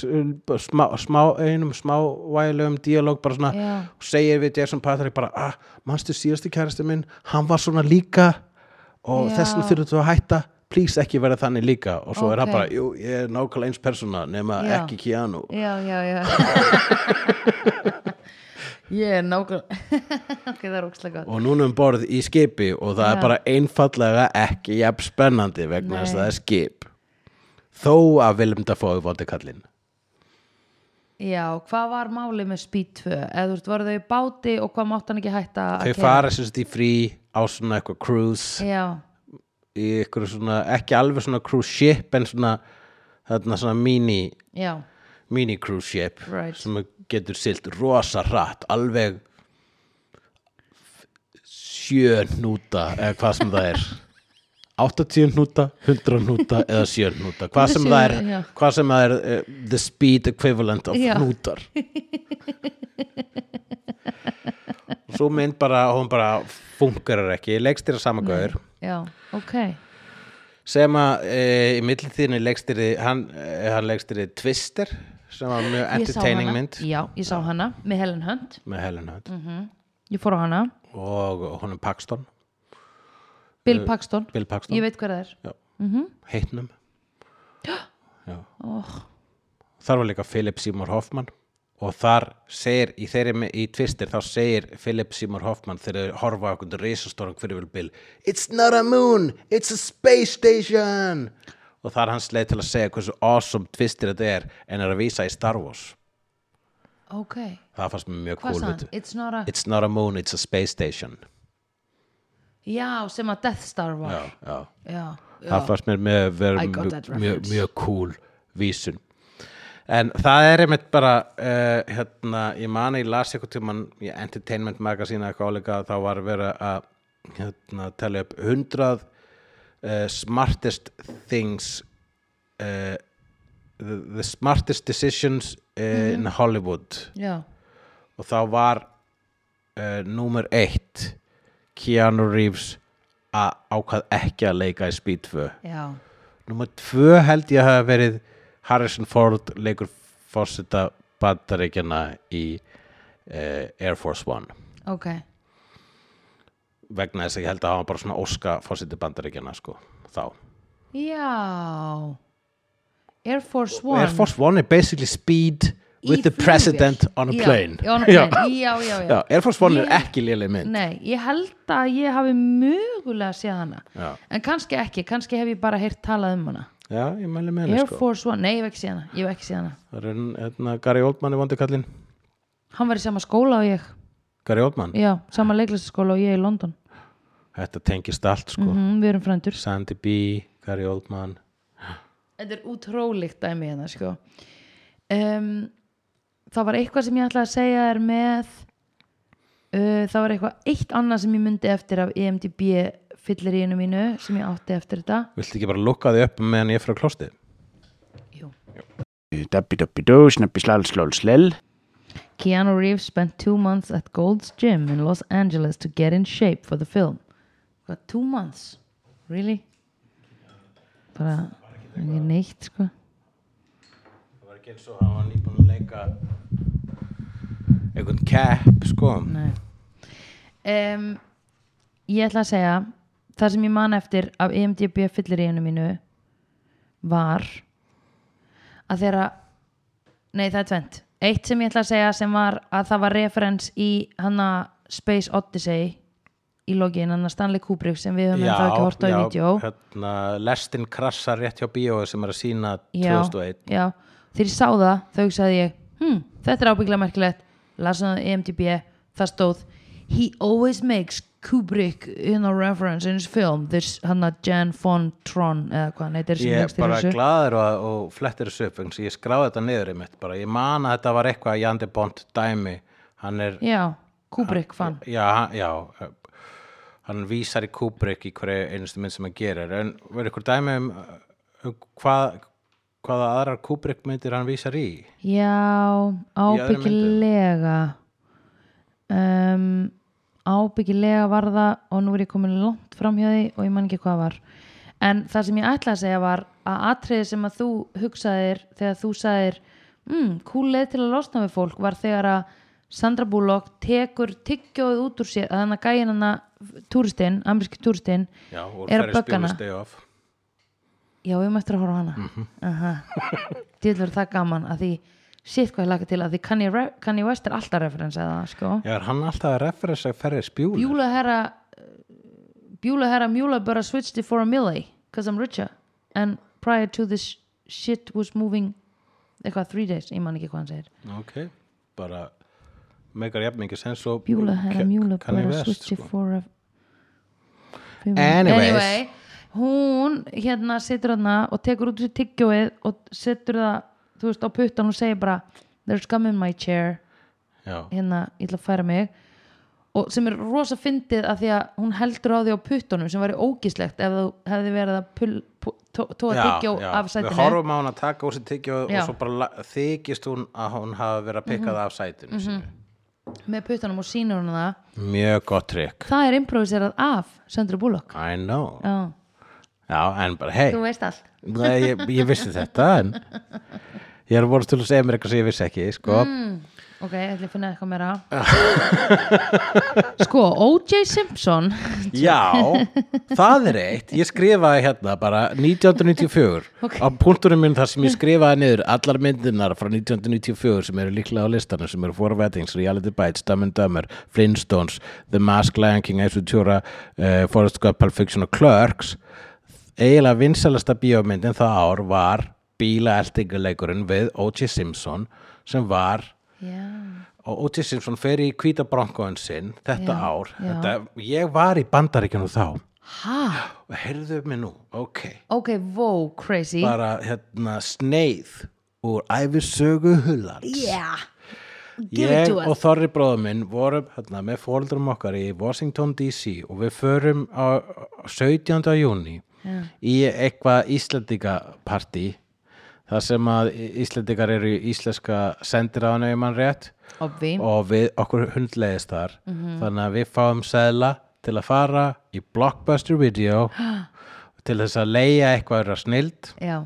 smá, smá einum smávægilegum díalóg bara svona
Já.
og segir við Jason Patrick bara ah, manstu síðasti kæristi minn, hann var svona líka og
Já.
þess vegna þurfum þú að hætta please ekki vera þannig líka og svo er hann
Ok.
bara, jú, ég er nákvæmlega eins persóna nema
Já.
ekki Keanu
já, já, já ég er nákvæmlega *laughs* ok, það er ókslega gott
og núna um borð í skipi og það er
Já.
bara einfallega ekki jafn spennandi vegna þess að
Nei.
það er skip þó að Willem Dafoe vóti kallinn
já, hvað var málið með Speed 2 eða þú veist, voru þau í báti og hvað mátt hann ekki hætta að
þau
keyra?
fara sem sagt í frí á svona eitthvað cruise
já,
í eitthvað svona, ekki alveg svona cruise ship en svona, þarna svona mini,
já,
mini cruise ship
Right.
sem getur silt rosa hratt, alveg sjö hnúta eða hvað sem það
*laughs*
er 80 hnúta, 100 hnúta eða 7 hnúta, hvað sem
Sjö,
það er
já.
hvað sem það er uh, the speed equivalent of
Já. *laughs*
hnútar og svo mynd bara hún bara funkarar ekki, leikstýra samagaur
já, ok
sem að e, í millitíðinni leikstýri hann, e, hann leikstýri Twister sem var mjög
Ég sá
entertaining
hana.
mynd
já, ég sá hana, með Helen Hunt
með Helen Hunt
Mhm. ég fór á hana,
og honum Paxton,
Bill Paxton
Bill Paxton
ég veit Mhm. hver það er
Já. heitnum
*gasps*
Já.
Oh.
þar var líka Philip Seymour Hoffman og þar segir í, þeirri, í tvistir þá segir Philip Seymour Hoffman þegar þau horfa á einhvern risastóran hverjulbil It's not a moon, it's a space station og það er hans leið til að segja hversu awesome tvistir þetta er en er að vísa í Star Wars
ok,
það fannst mér mjög
hvað
cool
sagði hann?
við-
It's not a,
It's not a moon, it's a space station
já, sem að Death Star var
já, já
já,
það fannst mér með vera
I got
mjög,
that
mjög,
reference.
mjög cool vísun en það er einmitt bara uh, hérna, ég mani, ég las eitthvað tímann í Entertainment Magazine eða eitthvað áleika þá var verið að hérna, telja upp 100 uh, smartest things uh, the, the smartest decisions uh, in
Mhm.
Hollywood
já,
og þá var uh, númer eitt Keanu Reeves að ákvað ekki að leika í Speed 2
já,
númer 2 held ég að hafa verið Harrison Ford leikur fórseta bandaríkjana í uh, Air Force One
ok
vegna þess að ég held að hafa bara svona óska fórseti bandaríkjana sko þá
já Air Force One
Air Force One er basically speed
Í
with the
flugvél.
president on a
Já,
plane
já,
*laughs*
on a plane. Já, já, já.
Já, Air Force
Ég-
One er ekki léleg mynd
Nei, ég held að ég hafi mögulega séð hana
Já.
En kannski ekki, kannski hef ég bara heyrt talað um hana
já, ég mæli með henni
Air
sko
Force One, nei ég hef ekki séð hana Ég hef ekki séð hana
það er hérna, Gary Oldman er vondi kallinn
Hann var í sama skóla og ég
Gary Oldman,
Já, sama leiklistaskóla og ég í London
þetta tengist allt sko.
mm Við erum frændur
Sandy B, Gary Oldman
Þetta er útrólíkt dæmi hérna sko. um, Það var eitthvað sem ég ætlaði að segja er með uh, Það var eitthvað eitt annað sem ég myndi eftir af E EMDB fyllir í mínu sem ég átti eftir þetta
Viltu ekki bara lukka því upp meðan ég er frá klostið?
Jú
Dabbi-dabbi-dó, snabbi-slal-slal-slel.
Keanu Reeves spent two months at Gold's Gym in Los Angeles to get in shape for the film. Hvað, two months? Really? uh, Bara, ekki neitt, sko.
Það var ekki eins og hann var nýbúin að leika einhvern kepp, sko.
Nei. Um, ég ætla að segja, það sem ég man eftir af E IMDb fyllir í einu mínu var að þeirra, nei það er tvent, eitt sem ég ætla að segja sem var að það var referens í hana Space Odyssey í login, hana Stanley Kubrick sem við höfum ennþá ekki hort á í vídeo.
hérna, lestin krassar rétt hjá bíói sem er að sína
Já,
2001.
já, þegar ég sá það þá hugsaði ég, hm, þetta er ábygglega merkilegt lasaði það á IMDb það stóð He always makes Kubrick in a reference in his film this hann að Jan von Tron eða hvað hann heitir sem
Ég er
leikstýrir
bara
þessu.
glaður og, og flettir þessu upp, eins og ég skráði þetta niður einmitt bara. Ég man að þetta var eitthvað að Jandi Bond dæmi. Hann er,
Já, Kubrick fann
já, hann- já, eh, hann vísar í Kubrick í hverju einustu mynd sem hann gerir. En verður ykkur dæmi um eh, um hvað, hvaða aðrar Kubrick myndir hann vísar í?
Já,
öðrum myndum.
ábyggilega um, Ábyggilega var það og nú er ég komin langt fram hjá því og ég man ekki hvað var En það sem ég ætla að segja var að atriði sem að þú hugsaðir þegar þú sagðir mm, cool leið til að losna við fólk var þegar að Sandra Bullock tekur tyggjóð út úr sér að þannig að gæin hana túristinn, ameríski túristinn
Já, og
Er að
Ferris
bögga hana.
Bueller's Day Off.
Já, við möttum að horfa á hana Aha. Djöfull verður það gaman að því sitt hvað ég laka til að því Kanye, Re- Kanye West er alltaf referensa það sko.
Já, er hann alltaf að referensa Ferris Bueller?
Bjúla herra Bjúla herra Mjúla bara switched it for a milli because I'm richer and prior to this shit was moving eitthvað three days, ég man ekki hvað hann segir
Ok, bara megar jafn mikið sens og
Bjúla herra
Ke-
Mjúla
Kanye
bara
West,
switched it
sko.
for a
Anyways.
anyway hún hérna situr hana og tekur út þessu tyggjóið og setur það þú veist á puttan og segir bara there's gum in my chair
Já,
hérna ég ætla að færa mig og sem er rosa fyndið að því að hún heldur á því á puttunum sem væri ógislegt ef þú hefði verið að pull, pull, tó, tó að tyggjó af
við
sætinu
horfum á hún að taka úr sér tyggjóð
Já. Mhm.
og svo bara la- þykist hún að hún hafa verið að pikka það af sætinu sínu.
með puttunum og sínur hún það
Mjög gott trikk.
það er improviserað af Sandra Bullock
I know.
já,
Já, en bara hei,
þú veist allt
Nei, ég, ég vissi þetta
*laughs*
en ég er voru til að segja mér eitthvað sem ég vissi ekki, sko.
Mm. ok, ég ætla að finna eitthvað meira *laughs* sko, O.J. Simpson
Já, það er eitt Ég skrifaði hérna bara 1994 á punkturinn minn þar sem ég skrifaði niður allar myndinar frá 1994 sem eru líklega á listanum sem eru Four Weddings, Reality Bites, Dumb and Dumber Flintstones, The Mask, Lion King Ace Ventura, uh, Forrest Gump, Pulp Fiction og Clerks eiginlega vinsalasta bíómyndin það ár var bílaeltinguleikurinn við O.J. Simpson sem var
já,
og O.J. Simpson fer í hvíta bronkóin sinn þetta
Já,
ár
já.
þetta, ég var í bandaríkjunum þá
ha,
og heyrðu mig nú, ok
ok, wow, crazy
bara hérna sneið úr æfisögu hullands
yeah, give it
ég
to us
og Þorri bróður minn vorum hérna, með fóldrum okkar í Washington DC og við förum á á 17. júni í eitthvað Íslandikapartí þar sem að Íslandikar eru í íslenska sendiráðinu ef mann rétt
obvi,
og við okkur hundlegist þar þannig að við fáum seðla til að fara í Blockbuster Video til þess að leia eitthvað er að snild
já,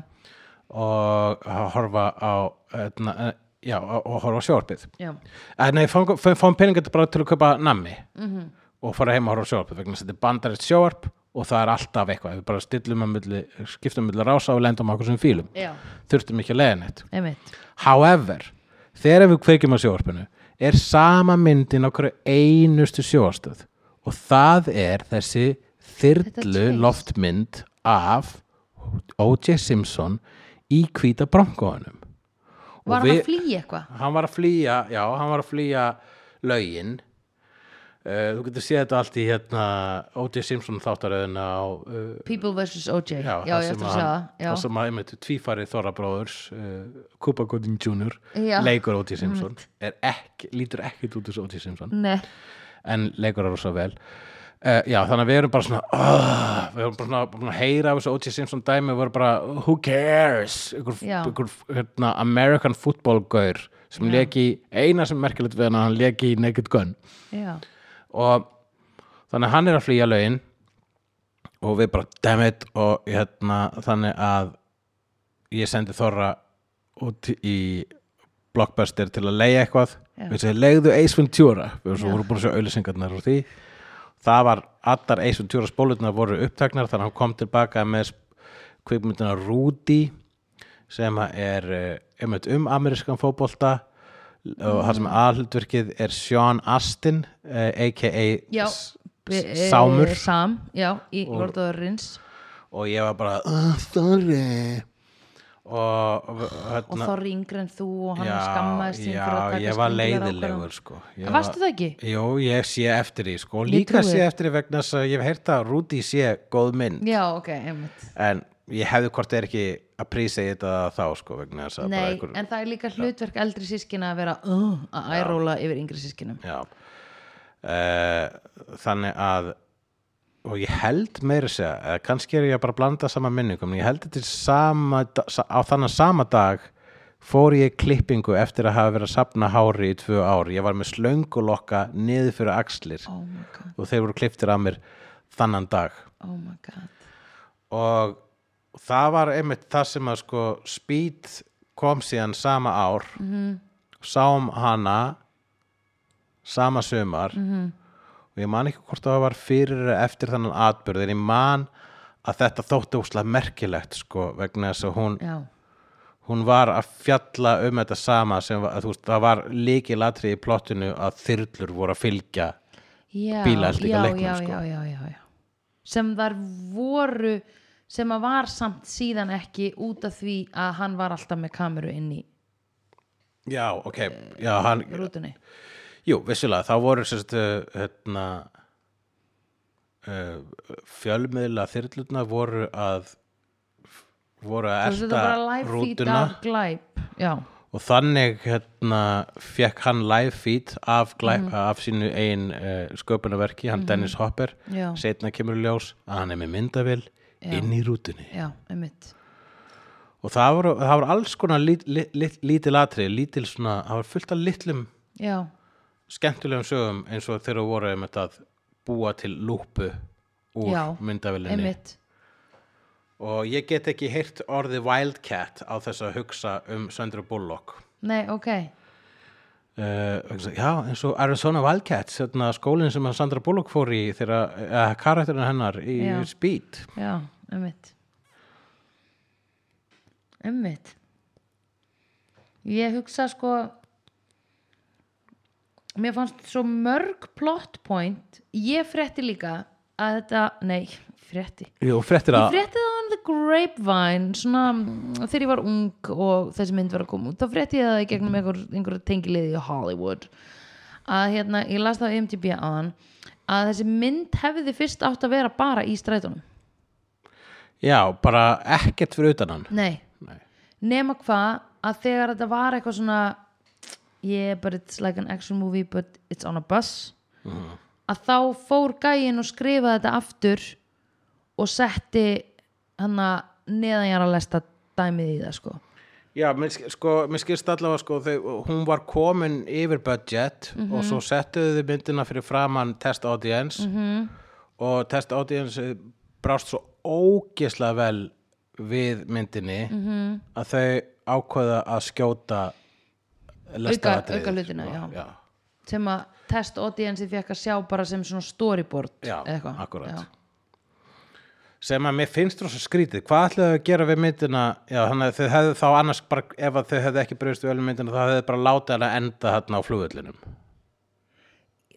og að horfa á hérna, eh, já, og horfa á sjórpið
já
en nei, fáum, fáum peningat bara til að kaupa nammi og fara heim að horfa á sjórpið vegna þess að þetta er bandarist sjórp og það er alltaf eitthvað, við bara stillum að milli, skiptum að milli rása og lendum á okkur sem fílum
Já.
þurftum ekki að leiða neitt
einmitt,
However, þegar við kveikjum á sjóvarpinu er sama myndin okkur einustu sjóvarstöð og það er þessi þyrlu
twist.
loftmynd af O.J. Simpson í hvíta bronkóðunum.
var hann að flýja eitthvað
Hann var að flýja, já, hann var að flýja lögin. Uh, þú getur séð þetta allt í hérna O.J. Simpson þáttaröðina á uh,
People vs. OJ Já,
það
ég ætla að
sem að
sjá
hann-
það
það
Já.
sem að einmitt tvífarið Þorra bróðurs uh, Kuba Gooding Jr.
Já.
leikur O.T. Simpson er ekki, lítur ekkit út þessu O.T. Simpson
Nei,
en leikur það rosa vel Uh, já, þannig að við erum bara svona uh, við erum bara svona búin að heyra af þessu O.J. Simpson dæmi við erum bara, who cares ykkur,
Já.
ykkur hérna, American football gaur sem leki, eina sem er merkilegt við hann að hann leki í Naked Gun
já,
og þannig að hann er að flýja lögin og við bara, damn it og hérna, þannig að ég sendi Þorra út í blockbuster til að leiða eitthvað
Já.
við segir, leiðu Ace Ventura við erum svo
Já.
voru búin að sjá auðlýsingarnar úr því það var, allar Ace Ventura spólutnar voru upptaknar, þannig að hann kom tilbaka með kvikmyndina Rudy sem að er eh, einmitt um amerískan fótbolta og þar sem aðhaldverkið er Sean Astin uh, a.k.a.
já
S-
Be- eh,
Sámur
Sam, já, í Lord of the Rings
og ég var bara "Ah, sorry og, og
og
hérna
Þorri yngri en þú og hann skammaðist sín fyrir að
já,
taka
ég
skyndilega
var
ákvörðun.
leiðilegur sko. Ég
Varstu
var-
það ekki?
Jú, ég sé eftir því sko.
Ég
Líka
trúi
sé
þér.
eftir því vegna þess að ég hef heyrt að Rúdi sé góð mynd
Já, ok, einmitt
en ég hefði hvort er ekki að prísa í þetta þá sko vegna þess að bara
Nei,
einhver-
en það er líka hlutverk eldri sískina að vera uh, að æróla yfir yngri sískinum
Já uh, Þannig að og ég held meira að segja eða kannski er ég að bara blanda sama minningum en ég held þetta er sama da- sa- á þannig sama dag fór ég í klippingu eftir að hafa verið að sapna hári í tvö ár, ég var með slöngulokka niður fyrir axlir
Oh my god,
og þeir voru klipptir að mér þannan dag
oh my god
og það var einmitt það sem að sko Speed kom síðan sama ár
Mhm,
sáum hana sama sumar
mhm,
-hmm. og ég man ekki hvort það var fyrir eða eftir þannan atbyrð en ég man að þetta þótti óslega merkilegt sko vegna þess að hún,
Já,
hún var að fjalla um þetta sama sem var, að, þú veist, það var líkilatri í plottinu að þyrlur voru að fylgja
já,
Bílar líka
já,
leikmenn,
já,
sko.
já, já, já, já sem þar voru sem að var samt síðan ekki út af því að hann var alltaf með kameru inn í
já ok, já hann
rútunni
Jú, vissulega, þá voru sérst, uh, hérna, uh, fjölmiðla þyrlutna voru að voru að
Þú veist, Þetta var
elta
live feed
rútuna
af glæp Já,
og þannig hérna, fekk hann live feed af, glæ,
Mhm.
af sínu ein uh, sköpunarverki, hann Dennis Hopper
Já.
setna kemur í ljós að hann er með myndavél inn í rútunni
já, einmitt
og það voru, það voru alls konar lít, lít, lít, lítil atri, lítil svona það var fullt af litlum
Já,
skemmtilegum sögum eins og þegar þú voru um þetta að búa til lúpu úr
já,
myndavilinni
einmitt
og ég get ekki heyrt orði Wildcat á þess að hugsa um Sandra Bullock
Nei, ok,
Uh, já, eins og Arizona Wildcats hérna, skólinn sem að Sandra Bullock fór í þegar uh, karakterinn hennar í
Já.
Speed
já, einmitt Einmitt Ég hugsa sko Mér fannst svo mörg plot point Ég frétti líka að þetta, nei, frétti
Jú, fréttir
Ég frétti það on the grapevine svona mm, þegar ég var ung og þessi mynd var að koma út þá frétti ég það í gegnum einhver, einhver tengiliði í Hollywood að hérna, ég las það á IMDb á hann að þessi mynd hefði fyrst átt að vera bara í strætunum
Já, bara ekkert fyrir utan hann
Nei,
Nei.
nema hvað að þegar þetta var eitthvað svona yeah but it's like an action movie but it's on a bus
Uh-huh.
að þá fór gæin og skrifaði þetta aftur og setti hann að neðanjara lesta dæmið í það sko
Já, mér, sk- sko, mér skilst allavega sko, þau, hún var komin yfir budget
Mhm.
og svo settuðu þau myndina fyrir framann test audience
Mhm.
-hmm. og test audience eh, brást svo ógislega vel við myndinni
Mhm.
-hmm. að þau ákveða að skjóta lestaratriðið,
auka hlutina, já.
Já,
sem að test audienceið fekk að sjá bara sem svona storyboard
já,
eða eitthvað.
akkúrat.
Já.
sem að mér finnst rosa skrítið hvað ætlaðu þau að gera við myndina já, þannig að þau hefðu þá annars bara, ef að þau hefðu ekki breyðst vel við myndina þá hefðu þau bara látið hana enda þarna á flugullinum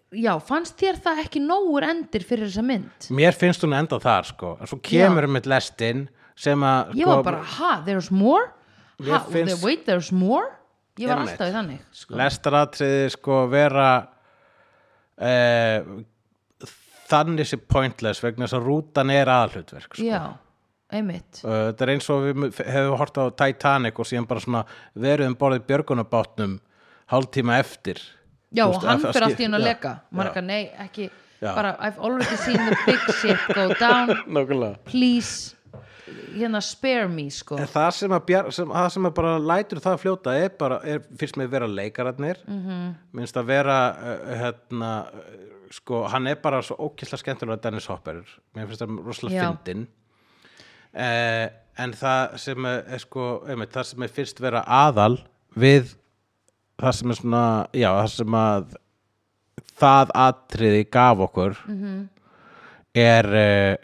Já, fannst þér það ekki nógur endir fyrir þessa mynd?
Mér finnst hún enda þar sko en svo kemur hún með lestin sem að
Ég
sko,
var bara, ha, there's more?
Mér
Ha,
finnst-
wait, there's more? Ég var
Einmitt.
alltaf í þannig
lestaratriði sko vera eh, þannig sé pointless vegna þess að rútan er aðhlutverk sko.
Já, einmitt
Uh, Þetta er eins og við mu- hefum hort á Titanic og síðan bara svona verið um borðið björgunabátnum hálftíma eftir
Já,
Þú
og
veist,
hann
að- að
fyrir
skip-
allt í henn að
já,
leka
já.
Marga, nei, ekki
Já.
bara I've already seen the big shit go down
Nákvæmlega
please hérna spare me sko
En það sem að, bjar, sem, það sem að bara lætur það fljóta er bara, er, fyrst með vera leikararnir -hmm. minnst að vera uh, hérna, uh, sko hann er bara svo ókýrslega skemmtilega Dennis Hopper mér finnst það rosalega
Já.
fyndin uh, en það sem er, er sko, einmitt, það sem er fyrst vera aðal við það sem er svona, já, það sem að það atriði gaf okkur -hmm. er uh,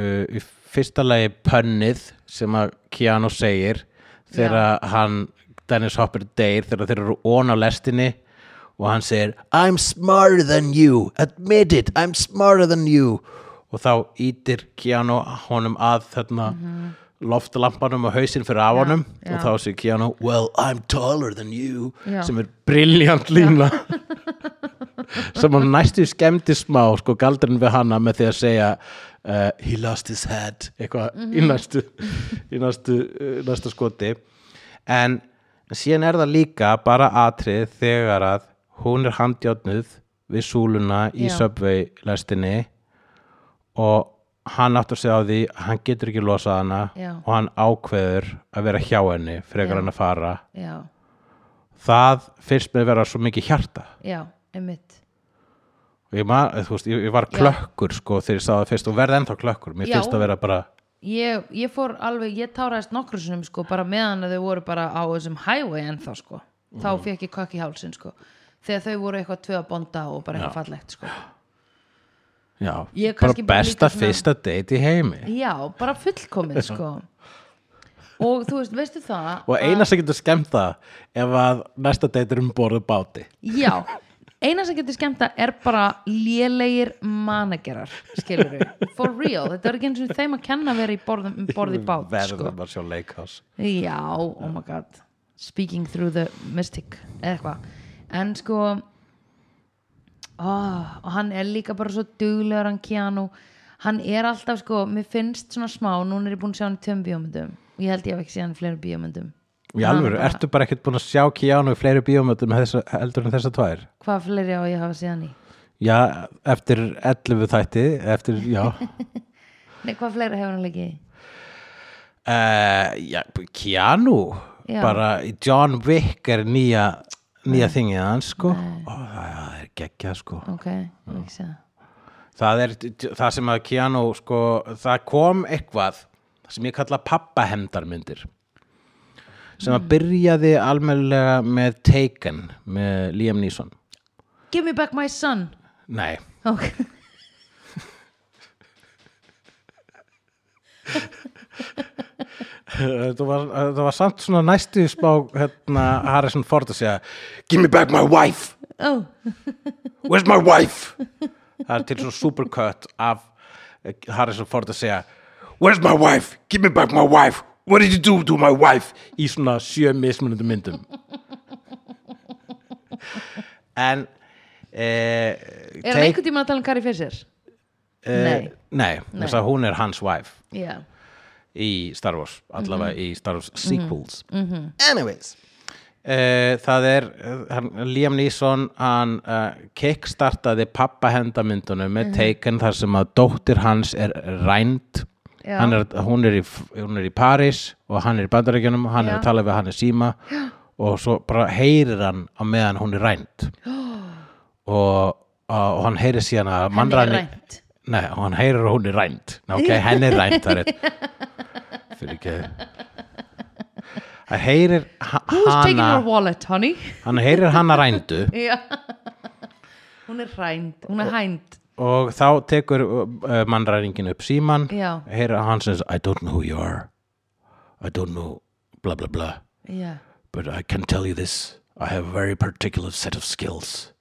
uh, í fyrsta lagi pönnið sem að Keanu segir þegar að hann Dennis Hopper deyr þegar þeir eru on á lestinni og hann segir I'm smarter than you, admit it I'm smarter than you og þá ítir Keanu honum að þarna loftalampanum og hausinn fyrir af honum
Mhm. já.
og þá segir Keanu Well, I'm taller than you
Já.
sem er briljant lína sem hann næstu skemmti smá sko galdurinn við hana með því að segja uh, he lost his head eitthvað í
Mhm.
næstu í næstu, uh, næsta skoti en síðan er það líka bara atrið þegar að hún er handjátnuð við súluna í
Já.
subway lestinni og hann áttur sig á því hann getur ekki losað hana
Já.
og hann ákveður að vera hjá henni frekar
Já.
hann að fara
já,
það fyrst með vera svo mikið hjarta
já, einmitt
og ég, man, þú veist, ég, ég var
Já.
klökkur sko þegar ég sá það fyrst og verði ennþá klökkur mér
Já.
finnst að vera bara
ég, ég fór alveg, ég táraðist nokkru sinum sko, bara meðan að þau voru bara á þessum highway ennþá sko, þá
Mhm.
fekk ég kökk í hálsin sko, þegar þau voru eitthvað tvö að bonda og bara eitthvað fallegt sko
já,
Ég er
bara
kannski bara
besta
líka svona-
fyrsta date í heimi
já, bara fullkomið sko
*laughs*
og þú veist, veistu það
og
að-
eina sem getur skemmt það ef að næsta date er um borðu báti
Já, eina sem getur skemmta er bara lélegir managerar, skilur við for real, þetta er ekki eins og þeim að kenna að vera í borðum, um borði bát sko.
verðum að sjá leikhás
Já, oh my god speaking through the mystic eða eitthvað, en sko oh, og hann er líka bara svo duglegur hann Keanu, hann er alltaf sko, mér finnst svona smá, núna er ég búin að sjá hann í tveim bíómyndum, ég held ég hef ekki séð hann í fleiri bíómyndum
í alvöru, ertu bara ekkert búin að sjá Keanu í fleiri bíómyndum þessa, heldur en þessa tvær
hvað fleiri á ég hafa séð hann í?
já, eftir 11 þætti eftir, já
*laughs* Nei, hvað fleiri hefur hann leikið í?
uh, já, Keanu
Já.
bara John Wick er nýja nýja þingið hans sko Ó, það það er geggjað sko
Ok, ég hef ekki séð það
það er það sem að Keanu sko, það kom eitthvað sem ég kalla pappahemdarmyndir sem að byrjaði almennilega með Taken með Liam Neeson
Give me back my son Oh.
nei,
okay.
það var, það var samt svona næstu spá hérna, Harrison Ford að segja Give me back my wife
*laughs* oh.
Where's my wife? *laughs* það er til svona supercut af eh, Harrison Ford að segja Where's my wife? Give me back my wife What did you do to my wife? Í svona sjö mismunandi myndum *laughs* En eh,
Er hann einhvern tímann að tala um Carrie Fisher?
eh,
Nei.
Nei, þess að hún er hans wife
Já,
í Star Wars allavega
Mhm.
í Star Wars sequels anyways uh, það er, eh, hann, Liam Neeson hann uh, kickstartaði pappahendamyndunum
Mhm.
með Taken þar sem að dóttir hans er rænd
Já.
hann er, hún, er í, hún er í Paris og hann er í bandarækjunum hann er
Já.
að tala við hann er síma og svo bara heyrir hann á meðan hún er
*gasps*
rænd og, og hann heyrir síðan að
hann er
mannræni
rænt
Nei, og hann heyrir að hún er rænd Nei, ok, henn er rænd, það er rétt Fyrir ekki Hann heyrir ha-
Who's taking
hana
her wallet, honey? *laughs*
Hann heyrir hana rændu
Já Hún er rænt, hún er hænt
og þá tekur uh, mannræringin upp síman
Já.
heyrir að hann sem I don't know who you are I don't know blah blah blah
Já,
but I can tell you this I have a very particular set of skills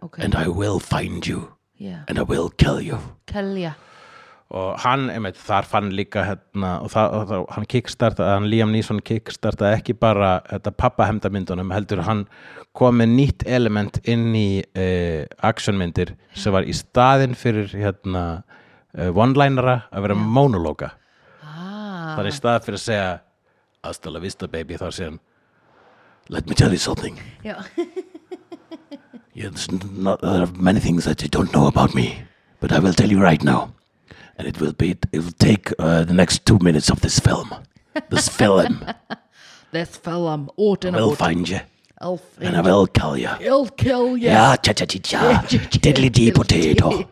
ok
and I will find you
Já,
and I will kill you
telja
og hann, einmitt, þar fann líka hérna, og, það, og það, hann kickstartaði hann Liam Neeson kickstartaði ekki bara þetta pappahemdamyndunum, heldur hann kom með nýtt element inn í uh, actionmyndir sem var í staðin fyrir hérna, uh, one-linera að vera monologa
ah,
þannig í stað fyrir að segja hasta la vista baby, þá segja hann let me tell you something
Já,
Yes, not, there are many things that you don't know about me, but I will tell you right now. And it will be it will take uh, the next two minutes of this film. *laughs* This film
*laughs* This film, out and
will
about.
find you,
I'll,
and I will kill you.
I'll kill you. *laughs*
Yeah, cha cha cha cha. Diddly dee potato.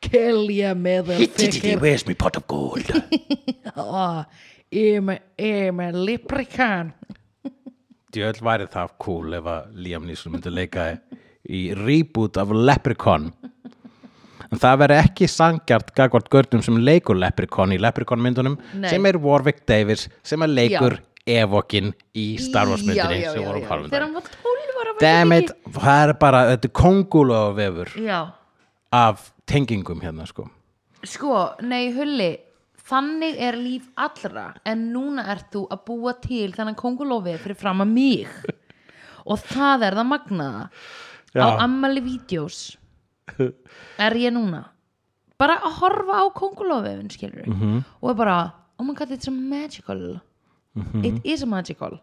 Kill you,
Diddly-dee,
motherfucker.
Where's my pot of *laughs* gold?
I'm a, I'm a e leprechaun.
Djöld væri það cool ef að Liam Neeson myndi leika í reboot af Leprechaun en það veri ekki sangjart gagvart görnum sem leikur Leprechaun í Leprechaun myndunum
Nei.
sem er Warwick Davis sem að leikur Evokin í Star Wars myndinni
Já, já,
sem
já,
vorum
já.
hálfum
Þegar
daginn
hann var 12 ára var
Damn
þetta
it, það er bara þetta kongulofa vefur
ekki- Já,
af tengingum hérna sko
sko, nei, hulli Þannig er líf allra en núna ert þú að búa til þennan kongulófi fyrir fram að
*laughs*
mig og það er það magnaða
Já.
á ammali vídeos er ég núna bara að horfa á kongulófin skilur
Mhm.
-hmm. og er bara oh my god, it's a magical
Mhm.
it is a magical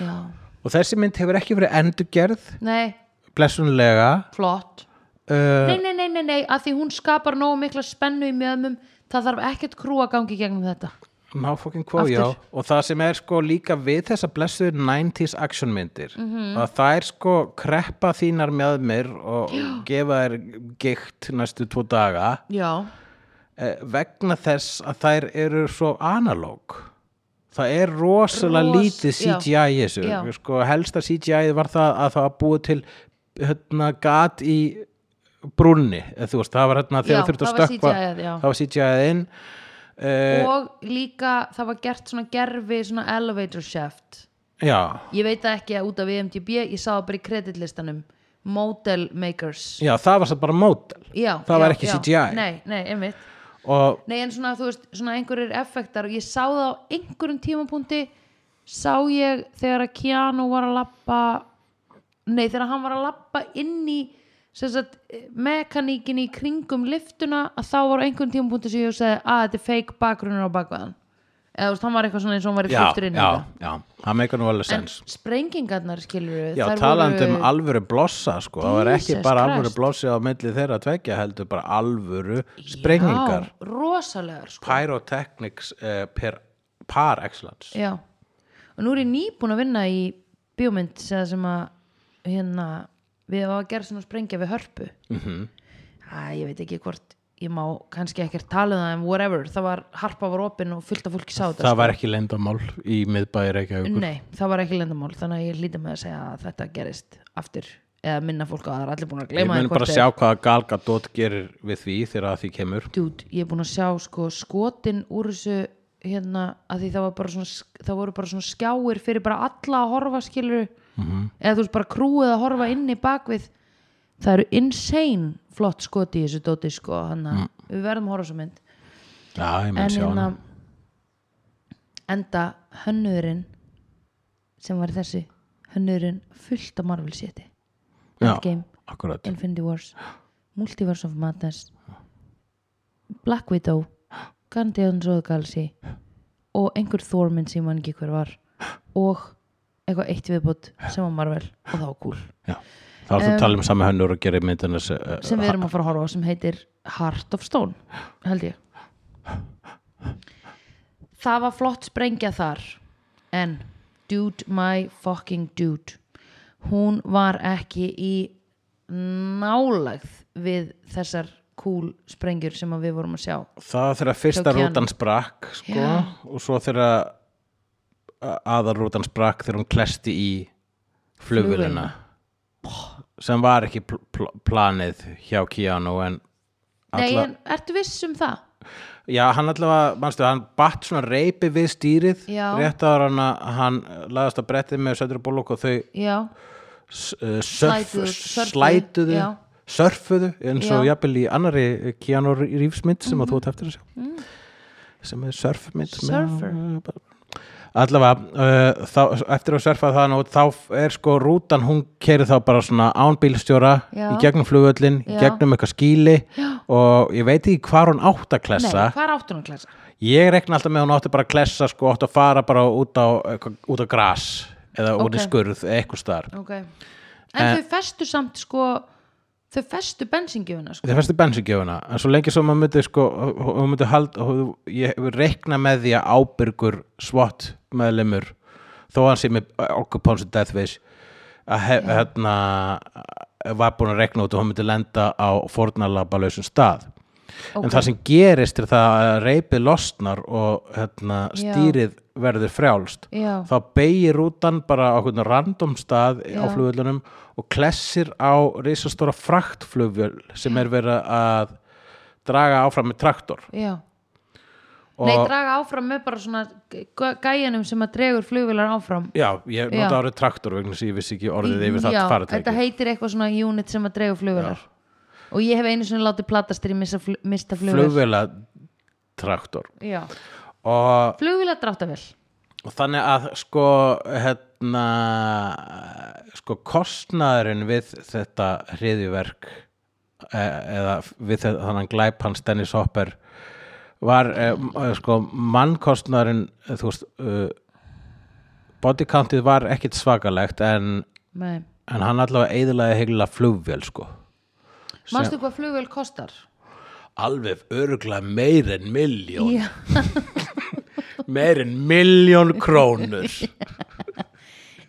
já,
og þessi mynd hefur ekki verið endurgerð
nei,
blessunlega
flott
uh,
nei, nei, nei, nei, nei, að því hún skapar nógu mikla spennu í mjöðmum það þarf ekkert krú að gangi gegnum þetta
Má fokkin kvó,
Aftur.
já og það sem er sko líka við þessa blessuðu 90s actionmyndir að það er sko kreppa þínar með mér og gefa þær gikt næstu tvo daga
já,
eh, vegna þess að þær eru svo analóg það er rosalega
Ros-
lítið
já.
CGI í þessu
Já.
sko helsta CGI var það að það var búið til hérna gat í brúnni, eða þú veist, það var hérna þegar
Já,
þurfti að
það var
stökkva
CGI-ið, já.
það var CGI-ið inn Eh,
og líka það var gert svona gerfi svona elevator shaft
já,
ég veit það ekki út af E IMDb ég sá það bara í kreditlistanum model makers
Já, það var satt bara mótel
já,
Það
já,
var ekki
já.
CGI.
nei, nei, einmitt
og
nei, en svona, þú veist, svona einhverjir effektar og ég sá það á einhverjum tímapunkti sá ég þegar að Keanu var að labba nei, þegar hann var að labba inn í sem sagt, mekaníkin í kringum liftuna að þá var á einhverjum tímapunkti sem ég sagði að þetta er fake bakgrunnur á bakvaðan eða þú veist, hann var eitthvað svona eins og hann var í
já,
flýftur inn í
já,
þetta.
já, það meikar nú alveg
en
sens
sprengingarnar skilur
Já, talandi um alvöru blossa sko, það var ekki
Jesus
bara
Christ.
alvöru blossi á milli þeirra tvekja heldur bara alvöru sprengingar
já, rosalegar sko.
Pyrotechnics uh, per, par excellence
Já, og nú er ég nýbúin að vinna í bíómynd sem sem að hérna, við hafa að gera svona sprengja við hörpu mm
Mhm.
Æ, ég veit ekki hvort ég má kannski ekkert tala um það en whatever, það var harpa var opin og fullt af fólki sá þetta
Það var ekki leyndamál í miðbæri
sko.
Reykjavíkur
Nei, það var ekki lendamál þannig að ég hlýta með að segja að þetta gerist aftur eða minna fólk á að það er allir búin að
Ég
gleyma því
mun
hvort
bara
er-
sjá hvaða Galga Dótt gerir við því þegar að því kemur
Dude, ég er búin að sjá sko skotin úr þessu hérna að því það, var bara svona, sk- það voru bara svona skjáir fyrir bara alla að horfa skilur
Mhm.
-hmm. eða þú veist bara krúið að horfa inn í bakvið það eru insane flott skoti í þessu dóti sko hann
Mm.
að við verðum að horfa á þessu mynd
Já, ég mun
en
sjá hana
hérna enda hönnurinn sem var í þessu hönnurinn fullt af Marvel séti
Já,
Endgame.
akkurat
Infinity Wars Multiverse of Madness Black Widow Guardians of the Galaxy og einhver Thorminn sem ég man ekki hver var og eitthvað eitt viðbútt sem var Marvel og það var cool
Já. Það var það að tala um sami hönnur og gera myndina uh,
sem við erum að fara að horfa á sem heitir Heart of Stone held ég það var flott sprengja þar en dude my fucking dude hún var ekki í nálægð við þessar cool sprengjur sem að við vorum að sjá
Það var þegar fyrsta
Hjá Keanu.
rútan sprakk sko,
Já.
og svo þegar aðar rútan sprakk þegar hún klesti í flugvélina sem var ekki pl pl planið hjá Keanu en
nei
alla,
en ertu viss um það?
já hann allavega, manstu, hann batt svona reipi við stýrið
Já.
rétt ára hann að hann laðast að brettið með Söndra Bólok og þau
já,
s- uh, surf,
Slætuðu, surfuðu,
slætuðu
já.
surfuðu eins og
Já. Mhm.
jafnvel í annari Keanu Reevesmynd sem að þú átt eftir að sjá sem er surfmynd sem er-
Mm. Surfer.
allavega uh, þá, eftir að surfa það nú þá er sko rútan hún keri þá bara svona án bílstjóra
Já.
í gegnum flugvöllin, í
Já.
gegnum eitthvað skýli Já. og ég veit ekki hvar hún átt
nei,
að klessa
hvað er áttunum klasa?
ég rekna alltaf með að hún átti bara að klessa sko, átti að fara bara út á, út á gras eða út
Ok.
í skurð, eitthvað starf
ok, en,
En-
þau festu samt sko þau festu bensingjöfuna sko
Það fyrstu bensingjöfuna, en svo lengi sem maður myndi sko, hún myndi hald og ég hefur reikna með því að ábyrgur svott meðlemur þó að hann sé með okkupónsu death wish að hef, hérna var búin að reikna út og hún myndi lenda á fornalabalösum stað
Ok.
en það sem gerist er það að reypið losnar og hérna,
Já.
stýrið verður frjálst
já,
þá beigir rútan bara á hvernig random stað á
Já.
flugvöllunum og klessir á risastóra fraktflugvöll sem er verið að draga áfram með traktor
já
og
Nei, draga áfram með bara svona g- gæjanum sem að dregur flugvilar áfram
já, ég
Já.
nota árið traktor vegna þess að ég vissi ekki orðið yfir
Já,
það
þetta
faratæki
heitir eitthvað svona unit sem að dregur flugvilar og ég hef einu svona látið platast í missa, fl- mista flugvilar
flugvöla traktor
Já,
og
flugvilar dráttavel
og þannig að sko hérna sko kostnaðurinn við þetta hriðjuverk e- eða við þetta, þannig glæp hans Dennis Hopper var e, m- e, sko mannkostnaðurinn e, þú veist uh, bodycountið var ekkit svakalegt en,
Nei,
en hann allavega eðilaði heila flugvél sko
manstu hvað flugvél kostar?
alveg öruglega meir en miljón
Já,
meir en miljón krónur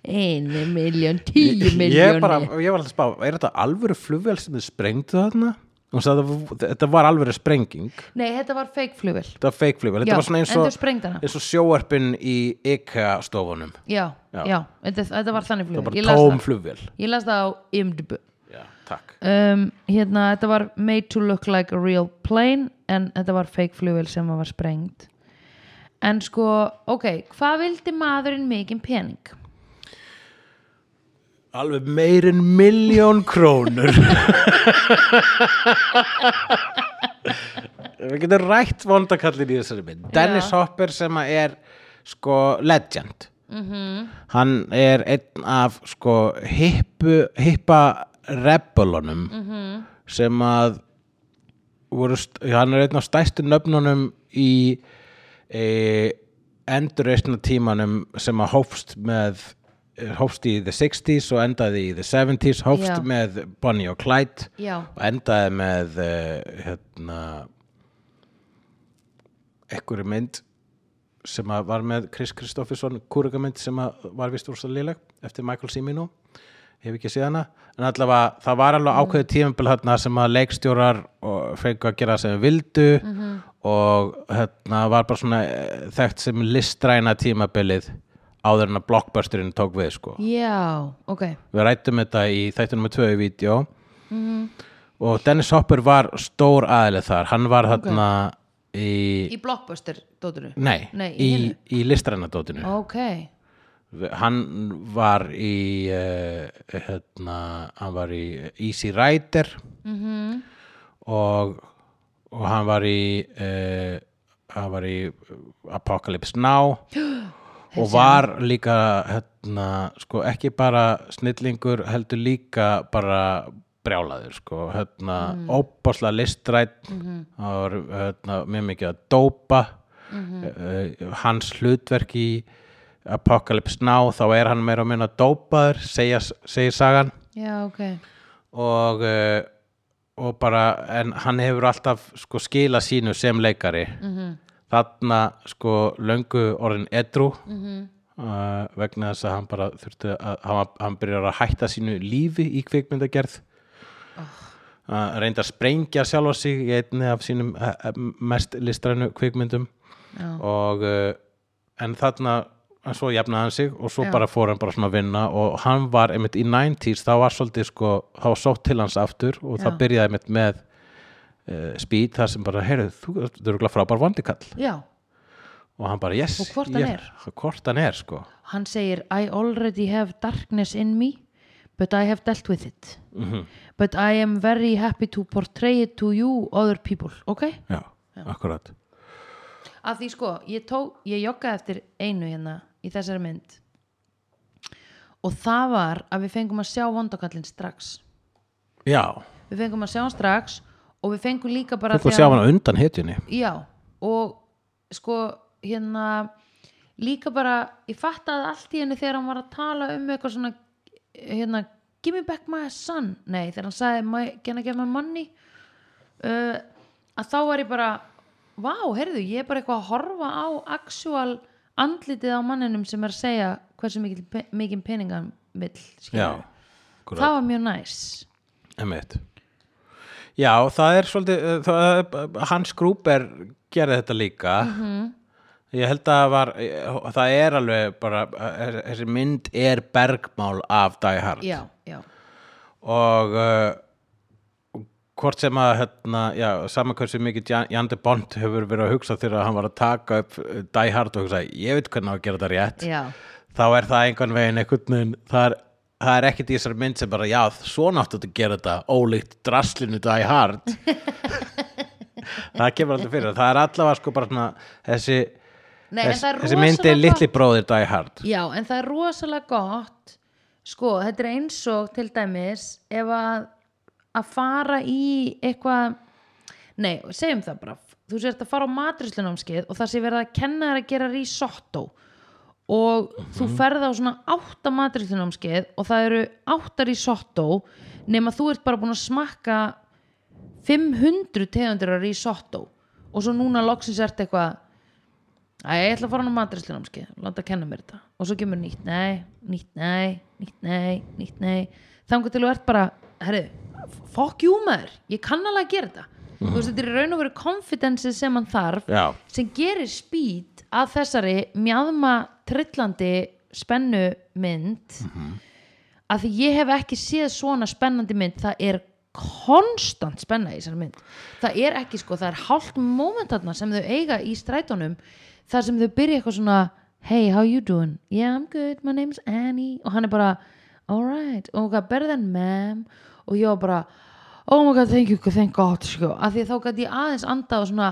einu miljón, tíu
ég,
miljónir
bara, ég var alltaf að spá, er þetta alvöru flugvél sem þið sprengdu þarna? Hún sagði að þetta var alvöru sprenging
Nei, þetta var fake flugvél
þetta var fake flugvél, þetta
Já,
var svona eins
en þau
og,
sprengdu hana.
eins og sjóarpin í IKEA stofunum
Já,
Já.
já, þetta, þetta var þannig
það var
flugvél Ég
bara
las
tóm
það,
flugvél
ég las það á IMDb
já, takk
um, hérna, þetta var made to look like a real plane en þetta var fake flugvél sem var sprengd en sko, ok hvað vildi maðurinn mikinn pening?
alveg meir en miljón krónur við getum rætt vondakallin í þessari mynd Dennis Hopper sem að er sko legend -hmm. hann er einn af sko hippu, hippa rebelunum -hmm. sem að voru, st- hann er einn af stæstu nöfnunum í e, endurreisna tímanum sem að hófst með e, hófst í the 60s og endaði í the 70s hófst
Já.
með Bonnie og Clyde
Já.
og endaði með uh, hérna ekkur mynd sem að var með Chris Kristofferson kúrugamynd sem að var vist úr svo léleg eftir Michael Cimino hef ekki séð hana en allavega það var alveg ákveðið tímabil hérna sem að leikstjórar og fengu að gera sem við vildu og hérna var bara svona eh, þekkt sem listræna tímabilið áður en að blockbusterinn tók við sko
Já, ok
við rættum þetta í þættunum með tvö í vídeo og Dennis Hopper var stór aðlið þar hann var þarna í,
í blockbuster, dóturu
nei,
Nei, í
í,
hinu.
í listrænadótinu
ok,
hann var í uh, hérna, hann var í Easy Rider
Mhm.
og og hann var í uh, hann var í Apocalypse Now og var líka hérna, sko, ekki bara snillingur heldur líka bara brjálaður sko, hérna, mm. óbáslega listrætt hann var hérna, mjög mikið að dópa Eh, hans hlutverk í Apocalypse Now þá er hann meira og minna dópaður segja, segir sagan
já, ok
og, eh, og bara en hann hefur alltaf sko skila sínu sem leikari -hmm. þarna sko löngu orðin edru
Mhm.
-hmm. vegna þess að hann bara þurfti að hann, var- hann byrjar að hætta sínu lífi í kvikmyndagerð oh. reynda að sprengja sjálfa sig í einni af sínum eh, eh, mest listrænu kvikmyndum
Já.
og eh, en þarna en svo jafnaði hann sig og svo bara fór hann bara svona að vinna og hann var einmitt í 90s þá var svolítið sko, þá var sótt til hans aftur og það
Já.
byrjaði einmitt með uh, speed þar sem bara, heyrðu, þú þú eru glæð frábær vondikall
já,
og hann bara, yes,
Og hvort hann
ég- hvort hann er sko
hann segir I already have darkness in me but I have dealt with it
Mhm.
but I am very happy to portray it to you other people, ok?
já, akkurat
að því sko, ég tók, ég joggaði eftir einu hérna í þessari mynd og það var að við fengum að sjá vondakallin strax
já,
við fengum að sjá hann strax og við fengum líka bara
þú
því
sjá hann á undan hetjunni
já, og sko hérna líka bara, ég fattaði allt í henni þegar hann var að tala um eitthvað svona hérna give me back my son nei, þegar hann sagði "My- can I give my money uh, að þá var ég bara vá, heyrðu, ég er bara eitthvað að horfa á actual andlitið á manninum sem er að segja hversu mikil, pe- mikinn peninga hann vill skilurðu. það var mjög næs
Einmitt. Já, það er svolítið uh, það, hans grúper gerði þetta líka
Mhm.
ég held að það var eh, það er alveg bara eh, þessi mynd er bergmál af Die Hard
já, já,
og uh, hvort sem að hérna, já, saman hversu mikið Jan- Jan de Bond hefur verið að hugsa þegar hann var að taka upp eh, Die Hard og hugsa ég veit hvernig á að gera þetta rétt
já
þá er það einhvern veginn einhvern veginn það er, það er ekkert í þessari mynd sem bara já, svona áttu að gera þetta ólíkt draslinu Die Hard
*laughs*
það kemur alltaf fyrir það er allavega sko bara svona þessi,
Nei, en það er
þessi mynd er
rosalega
litli bróðir Die Hard
Já, en það er rosalega gott sko, þetta er eins og til dæmis ef að að fara í eitthvað nei, segjum það bara þú sért að fara á matrislunámskeið og það sé verið að kenna þær að gera risotto og þú ferð á svona átta matrislunámskeið og það eru átta risotto nema þú ert bara búin að smakka 500 tegundir af risotto og svo núna loksins ert eitthvað Æ, ég ætla að fara hann á matrislunámski, láta að kenna mér þetta og svo kemur nýtt, nei, nýtt, nei nýtt, nei, nýtt, nei þangur til þú ert bara, herri fuck you maður, ég kann alveg að gera þetta þú veist, þetta er í raun og veru konfidensi sem hann þarf,
já,
sem gerir spýt að þessari mjáðma trillandi spennu mynd að því ég hef ekki séð svona spennandi mynd, það er konstant spenna í þessari mynd það er ekki sko, það er hálft momentarna sem þau eiga í strætónum þar sem þau byrja eitthvað svona hey, how you doing? yeah, I'm good, my name's Annie og hann er bara, alright og hún gaf, better than ma'am og ég var bara, oh my god, thank you, thank god sko, af því þá gæti ég aðeins andað og svona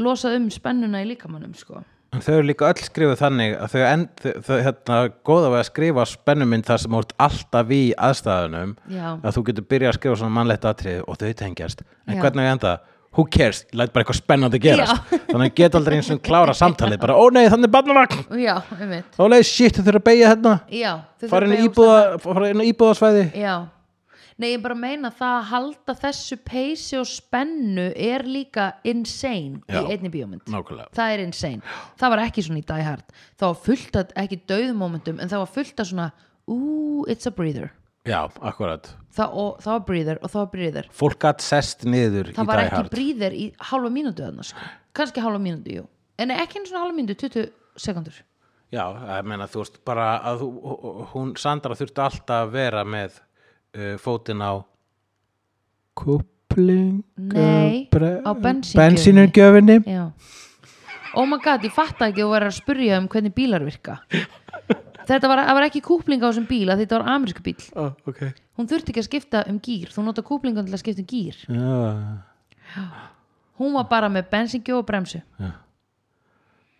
losað um spennuna í líkamannum sko,
en þau eru líka öll skrifuð þannig að þau, en, þau, þau hérna, góða við að skrifa spennumynd þar sem þú ert alltaf í aðstæðunum
já
að þú getur byrjað að skrifa svona mannlegt atrið og þau tengjast, en
Já.
hvernig við enda who cares, læt bara eitthvað spennandi gerast
Já. *laughs*
þannig að geta aldrei eins og klára samtalið bara, ó nei, þannig er barnavagn
já, einmitt,
ó nei, shit, þau þurfa að beigja hérna
já þau
fara
þurfa að
inn í
hérna.
íbúða, fara inn í íbúðasvæði
Já, nei ég bara meina það að halda þessu peysi og spennu er líka insane
Já.
í einni bíómynd
nákvæmlega,
það er insane, það var ekki svona í Die Hard það var fullt að, ekki döðumomentum en það var fullt að svona, ooh it's a breather
já, akkurat
það, og, það var breather og það var breather
fólk gætt sest
það
niður í
var
Die
ekki
Hard
breather í halva mínútu annars, kannski halva mínútu, jú en ekki einu svona halva mínútu, 20 sekundur
já, ég meina, þú veist bara að þú, hún, Sandra þurfti alltaf að vera með uh, fótinn á kupling
Nei, á bensíngjöfinni.
bensínugjöfinni
Já Oh my god, ég fatt ekki að þú verður að spurja um hvernig bílar virka Þetta var, það var ekki kúpling á þessum bíl að þetta var amerísku bíl
oh, ok
Hún þurfti ekki að skipta um gýr Þú nota kúplingan til að skipta um gýr
já
Hún var bara með bensingju og bremsu
Já.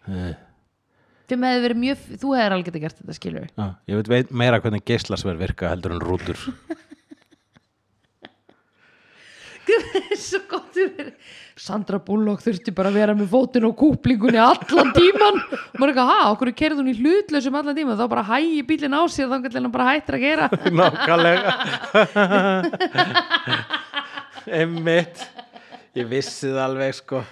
Eh.
Sem hefði verið mjög Þú hefðir alveg geta gert þetta skilur *laughs*
Já, ég veit, veit meira hvernig geislasverð virka heldur en rútur *laughs*
Svo gott þú verið Sandra Bullock þurfti bara að vera með fótinn og kúplingunni allan tíman Maður er ekki að ha, okkur kerði hún í hlutlausum allan tíman Þá bara hægi bílinn á sér Þá gætlega hann bara hættir að gera
Nákvæmlega *laughs* Einmitt Ég vissi það alveg sko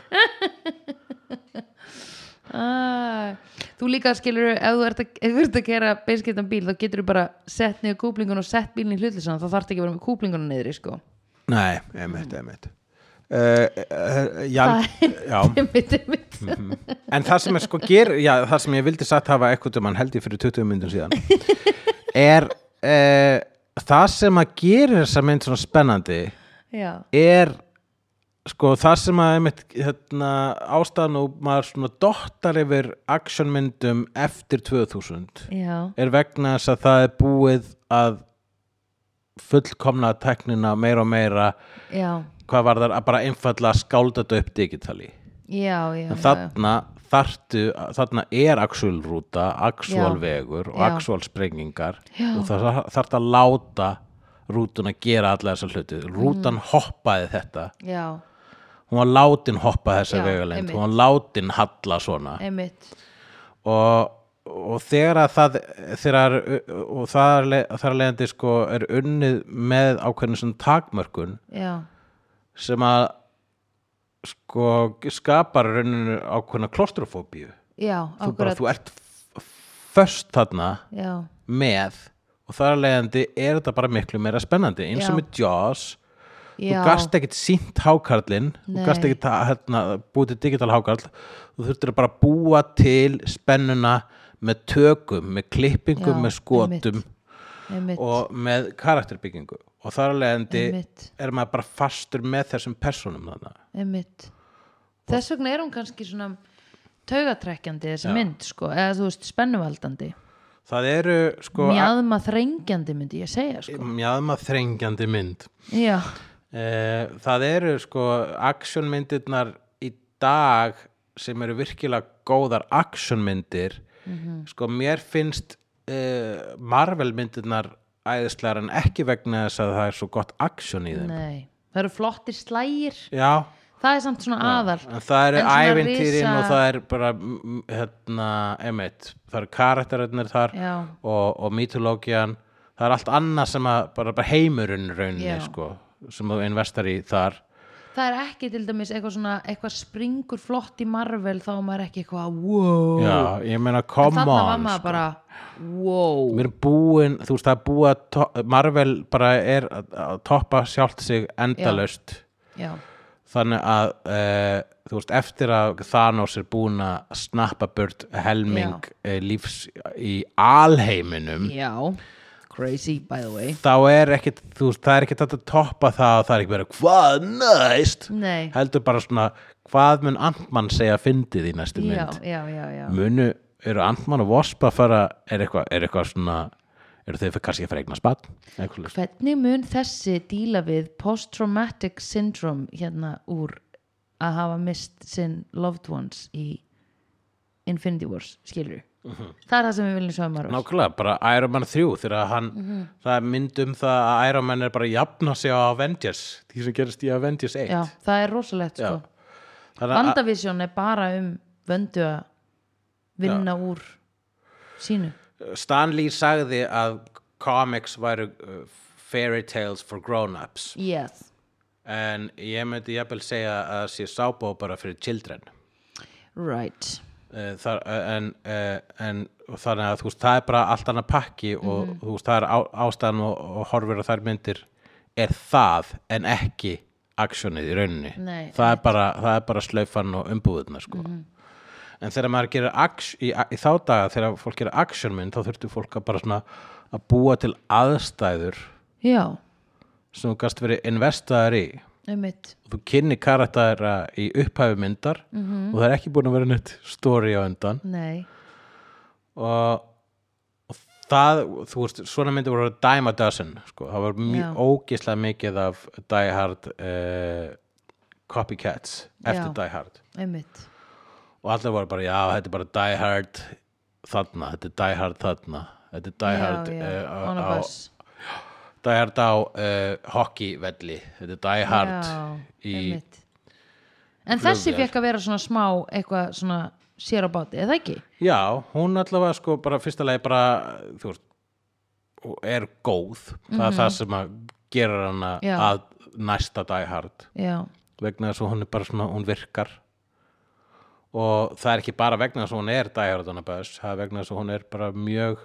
Ah, þú líka skilur ef þú ert að, ef þú ert að gera beinskiptan bíl þá getur þú bara sett niður kúplingun og sett bílinn í hlutlisann þá þarf ekki að vera með kúplingunum niður sko.
Nei, einmitt, einmitt uh, uh, Jan, já,
*laughs* einmitt, einmitt.
en það sem er sko ger, já, það sem ég vildi satt hafa eitthvað um hann held ég fyrir 20 myndum síðan er uh, það sem að gera þessa mynd svona spennandi
*laughs* Já.
er sko það sem að einmitt, hérna, ástæðan og maður svona dottar yfir actionmyndum eftir 2000
Já.
er vegna þess að það er búið að fullkomna teknina meira og meira
Já.
hvað var þar að bara einfalla skálda þetta upp digitali
Já, já,
en
já,
þarna þartu, þarna er actual rúta, actual
Já.
vegur og
Já.
actual sprengingar
Já.
og það þarf að láta rútuna gera alla þessa hluti rútan
Mm.
hoppaði þetta
já,
hún var látin hoppa þessa
Já,
vegalengd
einmitt.
hún var látin halla svona
einmitt
og og þegar að það þegar, og þar, le- þar leiðandi sko er unnið með ákveðinu svona takmörkun
já,
sem að sko skapar rauninu ákveðna klostrofóbíu
já,
þú bara,
akkurat
þú ert först þarna
já,
með og þar leiðandi er þetta bara miklu meira spennandi eins
Já.
og með Jaws
já,
þú gast ekkit sínt hákarlinn þú
Nei.
gast ekkit að, hérna, búið til digital hákarl þú þurftir að bara búa til spennuna með tökum með klippingum,
Já,
með skotum
einmitt,
og með karakterbyggingu og þar af leiðandi
einmitt,
er maður bara fastur með þessum personum þarna
einmitt þess vegna er hún kannski svona taugatrekkjandi þessi mynd sko, eða þú veist spennuvaldandi
það eru sko
mjadma þrengjandi myndi ég segja sko
mjadma þrengjandi mynd
já,
eh, það eru sko actionmyndirnar í dag sem eru virkilega góðar actionmyndir
Mhm.
sko mér finnst eh, Marvel myndirnar æðislegar en ekki vegna þess að það er svo gott action í þeim
nei það eru flottir slægir
já,
það er samt svona aðal
en það eru
En svona
ævintýrin
risa-
og það er bara m- m- hérna, emitt, það eru karakterinnir þar
já,
og, og mytológian það er allt annað sem að bara, bara heimurinn
Já.
rauninni sko, sem þú investar í þar
það er ekki til dæmis eitthvað svona eitthvað springur flott í Marvel þá er maður ekki eitthvað wow
Já, ég meina,
en
come
þarna var
on
maður
sko.
bara wow
Mér er búin, þú veist, það er búið að to- Marvel bara er að, að toppa sjálft sig endalaust
já,
þannig að uh, þú veist, eftir að Thanos er búin að snappa burt helming uh, lífs í alheiminum
já crazy by the way
þá er ekkit, þú veist, það er ekkit hægt að toppa það og það er ekki verið, hvað næst
nei,
heldur bara svona, hvað mun Antmann segja fyndið í næstu mynd
já, já, já, já
munu, eru Antman og Vosp að fara, er eitthvað er eitthvað svona, eru þau fyrir kannski að fara að eigna spatt? Eitthvað,
hvernig mun þessi díla við post-traumatic syndrome hérna úr að hafa mist sinn loved ones í Infinity Wars, skilur það er það sem við viljum sjá um Marvel
Mhm. nákvæmlega, bara Iron Man 3 þegar hann, það er mynd um það að Iron Man er bara að jafna sig á Avengers því sem gerist í Avengers 1
Já, það er rosalegt
Já.
sko.
Þannig að-
Vandavision er bara um vöndu að vinna úr sínu
Stan Lee sagði að comics væru uh, fairy tales for grown-ups
yes.
en ég myndi jafnvel segja að sé sábó bara fyrir children
right
Eh, þar, eh, en, eh, en og þannig að þú veist, það er bara allt annað pakki og þú veist, það er á, ástæðan og, og horfir á þær myndir er það en ekki aksjónið í rauninni
Nei,
það, er bara, það er bara slaufan og umbúðuna sko. en þegar maður gerir aks, í, í þá daga þegar fólk gerir aksjónmynd þá þurftu fólk að bara svona að búa til aðstæður
já,
sem þú gast verið investaðar í
einmitt
og þú kynni karaktæra í upphæfu myndar og það er ekki búin að vera neitt stóri á undan
nei,
og, og það, þú veist, svona myndi voru dime a dozen, sko, það var
Já.
mjög ógislega mikið af Die Hard uh, copycats eftir
Já.
Die Hard
einmitt
og allir voru bara, já, þetta er bara Die Hard þarna, þetta er Die Hard þarna þetta er Die Hard
já, já,
eh,
on a
á, á,
bus
Die Hard á uh, hockeyvelli, þetta er Die Hard í,
einmitt. en þessi
flugvél.
fekk að vera svona smá eitthvað svona sér á báti, eða ekki?
já, hún allavega sko bara fyrsta leið bara, þú veist og er góð, það er það sem að gera hana
Mhm. Já.
að næsta Die Hard
já,
vegna þess að hún er bara svona, hún virkar og það er ekki bara vegna þess að hún er dæjarðana bæðs, það er vegna þess að hún er bara mjög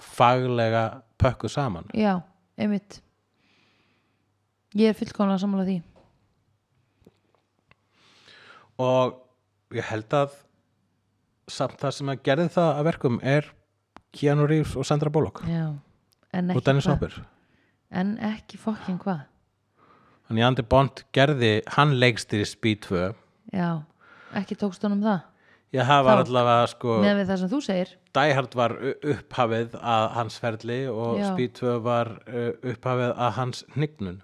faglega pökkuð saman
já, einmitt ég er fullkomlega sammála því
og ég held að samt það sem að gerði það að verkum er Keanu Reeves og Sandra Bullock
já, en
og
ekki
Dennis
hvað.
Hopper
en ekki fokkin hvað
þannig að Andy Bond gerði, hann leggst í Speed 2
já, ekki tókst honum það
ég það var
Þá.
allavega sko
með við það sem þú segir
Die Hard var u- upphafið að hans ferli og
Já.
Speed 2 var uh, upphafið að hans hnignun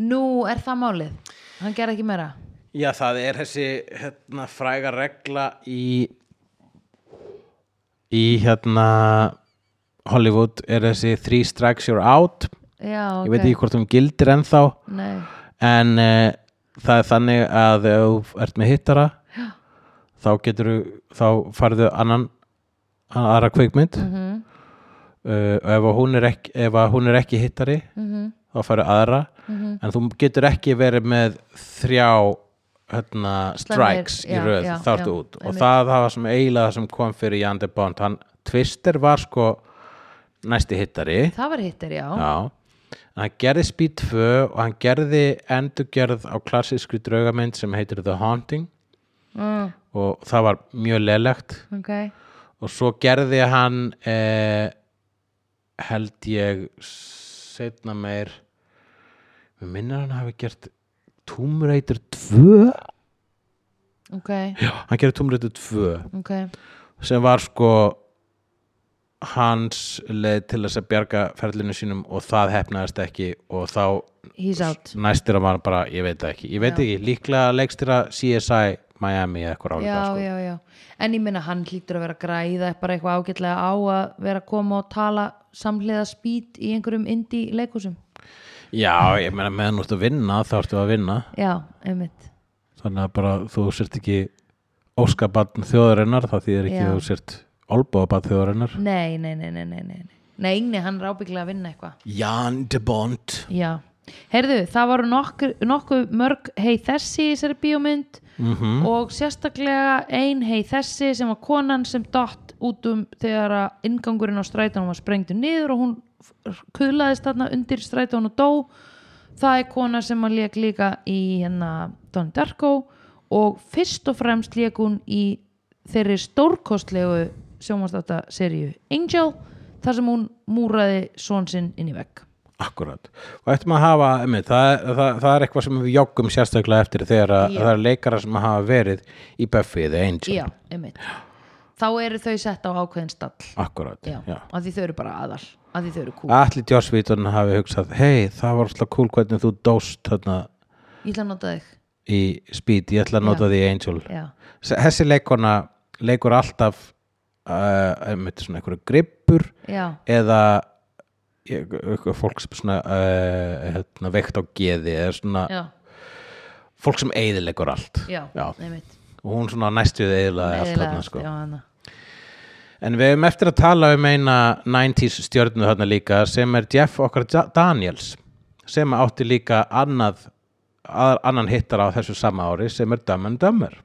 nú er það málið, hann ger ekki meira
Já, það er þessi hérna, fræga regla í í hérna Hollywood er þessi three strikes you're out
já, ok
ég veit ekki hvort hún gildir ennþá
Nei.
en uh, það er þannig að ef þú ert með hittara Já. þá getur þá farðu annan aðra kveikmynd
Mhm.
uh, og ef að hún er ekki, ef að hún er ekki hittari
mhm.
þá farið aðra en þú getur ekki verið með þrjá hérna, strikes
já,
í röð
já,
þá ertu
já,
út og
einmitt.
það, það var sem eiginlega það sem kom fyrir Jan de Bond hann Twister var sko næsti hittari
það var hittir, já,
Já, en hann gerði Speed 2 og hann gerði endurgerð á klassísku draugamynd sem heitir The Haunting
Mm,
og það var mjög lelegt
ok
og svo gerði hann eh, held ég setna meir við minnir hann hafi gert Tomb Raider 2
ok,
Já, hann gerði Tomb Raider 2
ok
sem var sko hans leið til þess að bjarga ferlinu sínum og það hefnaðist ekki og þá
he's out
næstýra var bara, ég veit það ekki ég veit
Já.
ekki, líklega leikstýra CSI Miami eða eitthvað álíka
já,
sko.
já, já, en ég minna hann hlýtur að vera að græða bara eitthvað ágætlega á að vera að koma og tala samhliða spýt í einhverjum indie leikusum
já, ég meina meðan þú ert að vinna þá ertu að vinna
já, einmitt
þannig að bara þú sért ekki óskabann þjóðarinnar þá þýðir ekki
Já.
að þú sért olbóðabann þjóðarinnar
nei, nei, nei, nei, nei, nei nei. nei, nei, hann er ábygglega að vinna eitthvað
Jan de Bond
já, heyrðu, það voru nokkur, nokkuð mörg hei þessi í þessari bíómynd -hmm. og sérstaklega ein hei þessi sem var konan sem dott út um þegar að ingangurinn á strætónum var sprengdur niður og hún kuðlaðist þarna undir strætónu og dó það er kona sem að lék líka í hérna Don Darko og fyrst og fremst lék hún í þeirri stórkostlegu sjónvarsdáta seríu Angel þar sem hún múraði són sinn inn í vegg
Akkurat. Og eftir maður hafa, einmitt, það, er- það, það er eitthvað sem við joggum sérstaklega eftir þegar að
Já.
það er leikara sem hafa verið í Buffy eða Angel.
Já, einmitt Þá eru þau sett á ákveðin stall
Akkurat,
Já,
já. Ah.
að því þau eru bara aðal að því þau eru kúl
Allir Jossvítun hafi hugsað, hei, það var alltaf cool hvernig þú dóst þarna
Ég ætla að nota þig
í Speed, ég ætla að nota
Já.
því í Angel.
Já,
S- Þessi leikona leikur alltaf, uh, einmitt, svona einhverju grippur
já,
eða ég- eitthvað fólk sem svona uh, hérna, veikt á geði eða svona
já,
fólk sem eiðilegur allt.
já,
já.
einmitt
og hún svona næstuð eiginlega allt
Eiginlega,
þarna sko.
já, hana.
en við hefum eftir að tala um eina 90s stjörnu þarna líka sem er Jeff okkar Ja- Daniels sem átti líka annað að, annan hittar á þessu sama ári sem er Dumb and Dumber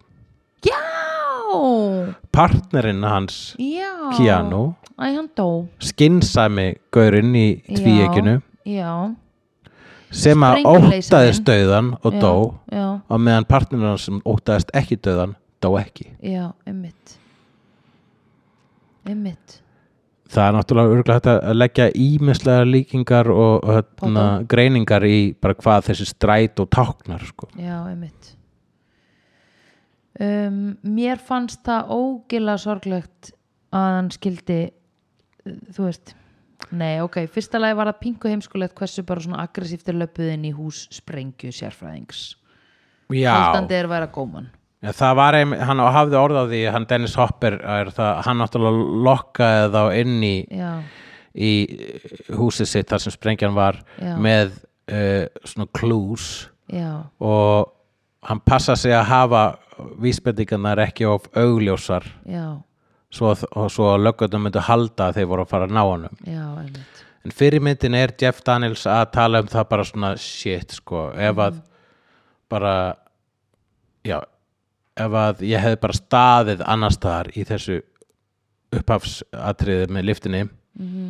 já,
partnerinn hans
já
Keanu.
Æ, hann dó
skinsami gaurinn í tvíeginu
Já, já
sem að
Sprenguleysingi.
óttaðist dauðan og
já,
dó
Já,
og meðan partnerinn hans sem óttaðist ekki dauðan dó ekki
já, einmitt Einmitt
það er náttúrulega örgulega hægt að leggja ímislega líkingar og hérna,
Pardon?
greiningar í bara hvað þessi stræt og táknar sko.
Já, einmitt um, Mér fannst það ógila sorglegt að hann skildi uh, þú veist Nei, ok, fyrsta lagi var það pingu heimskulegt hversu bara svona aggressíftir löpuðin í hús sprengju sérfræðings
já,
Haldandi er að vera góman
ja, það var ein, hann hafði orð á því, hann Dennis Hopper er það, hann náttúrulega lokkaði þá inn í,
Já,
í húsið sitt þar sem sprengjan var
Já.
með uh, svona clues
já,
og hann passa sig að hafa vísbendingarnar ekki of augljósar
já,
svo, að- og svo að löggötum myndu halda að þeir voru að fara að ná honum
já, einmitt
en fyrirmyndin er Jeff Daniels að tala um það bara svona shit sko, ef að bara já, ef að ég hefði bara staðið annar staðar í þessu upphafsatriði með liftinni
Mhm,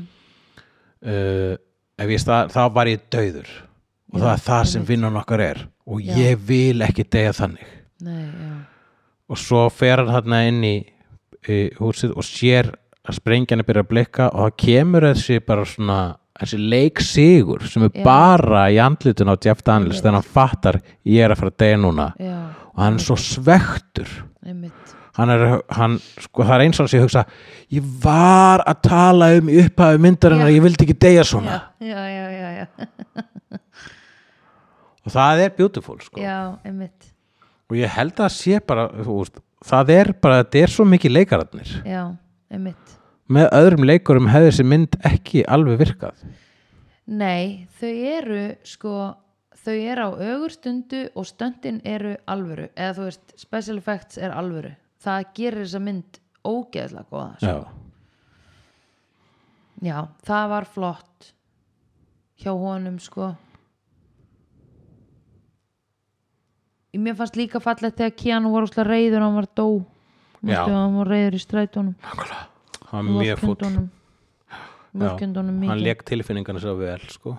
uh, ef ég stað, þá var ég dauður og það er það sem vinnan okkar er og ég vil ekki deyja þannig
Nei, já,
og svo fer hann þarna inn í, í húsið og sér að sprengjan er byrja að blikka og það kemur þessi bara svona þessi leiksigur sem er bara í andlutun á Jeff Daniels þegar hann fattar ég er að fara að deyja núna
já,
og hann er svo svektur
einmitt
hann er, hann, sko það er eins og hans ég hugsa ég var að tala um í upphafi myndarinnar, ég vildi ekki deyja svona
Já, já, já, já, já,
og það er beautiful sko
já einmitt
og ég held að það sé bara þú veist, það er bara, þetta er svo mikið leikararnir
Já, einmitt
með öðrum leikurum hefði þessi mynd ekki alveg virkað
Nei, þau eru sko, þau eru á ögurstundu og stöndin eru alvöru eða þú veist, special effects er alvöru það gerir þessa mynd ógeðslega góða sko.
Já.
Já, það var flott hjá honum sko Mér fannst líka fallegt þegar Keanu var úslega reyður og hann var dó
Já.
Mestu að hann var reyður í strætónum
hann var mjög fúll
Mörkundunum
hann
mikið
leik tilfinningarna svo vel sko.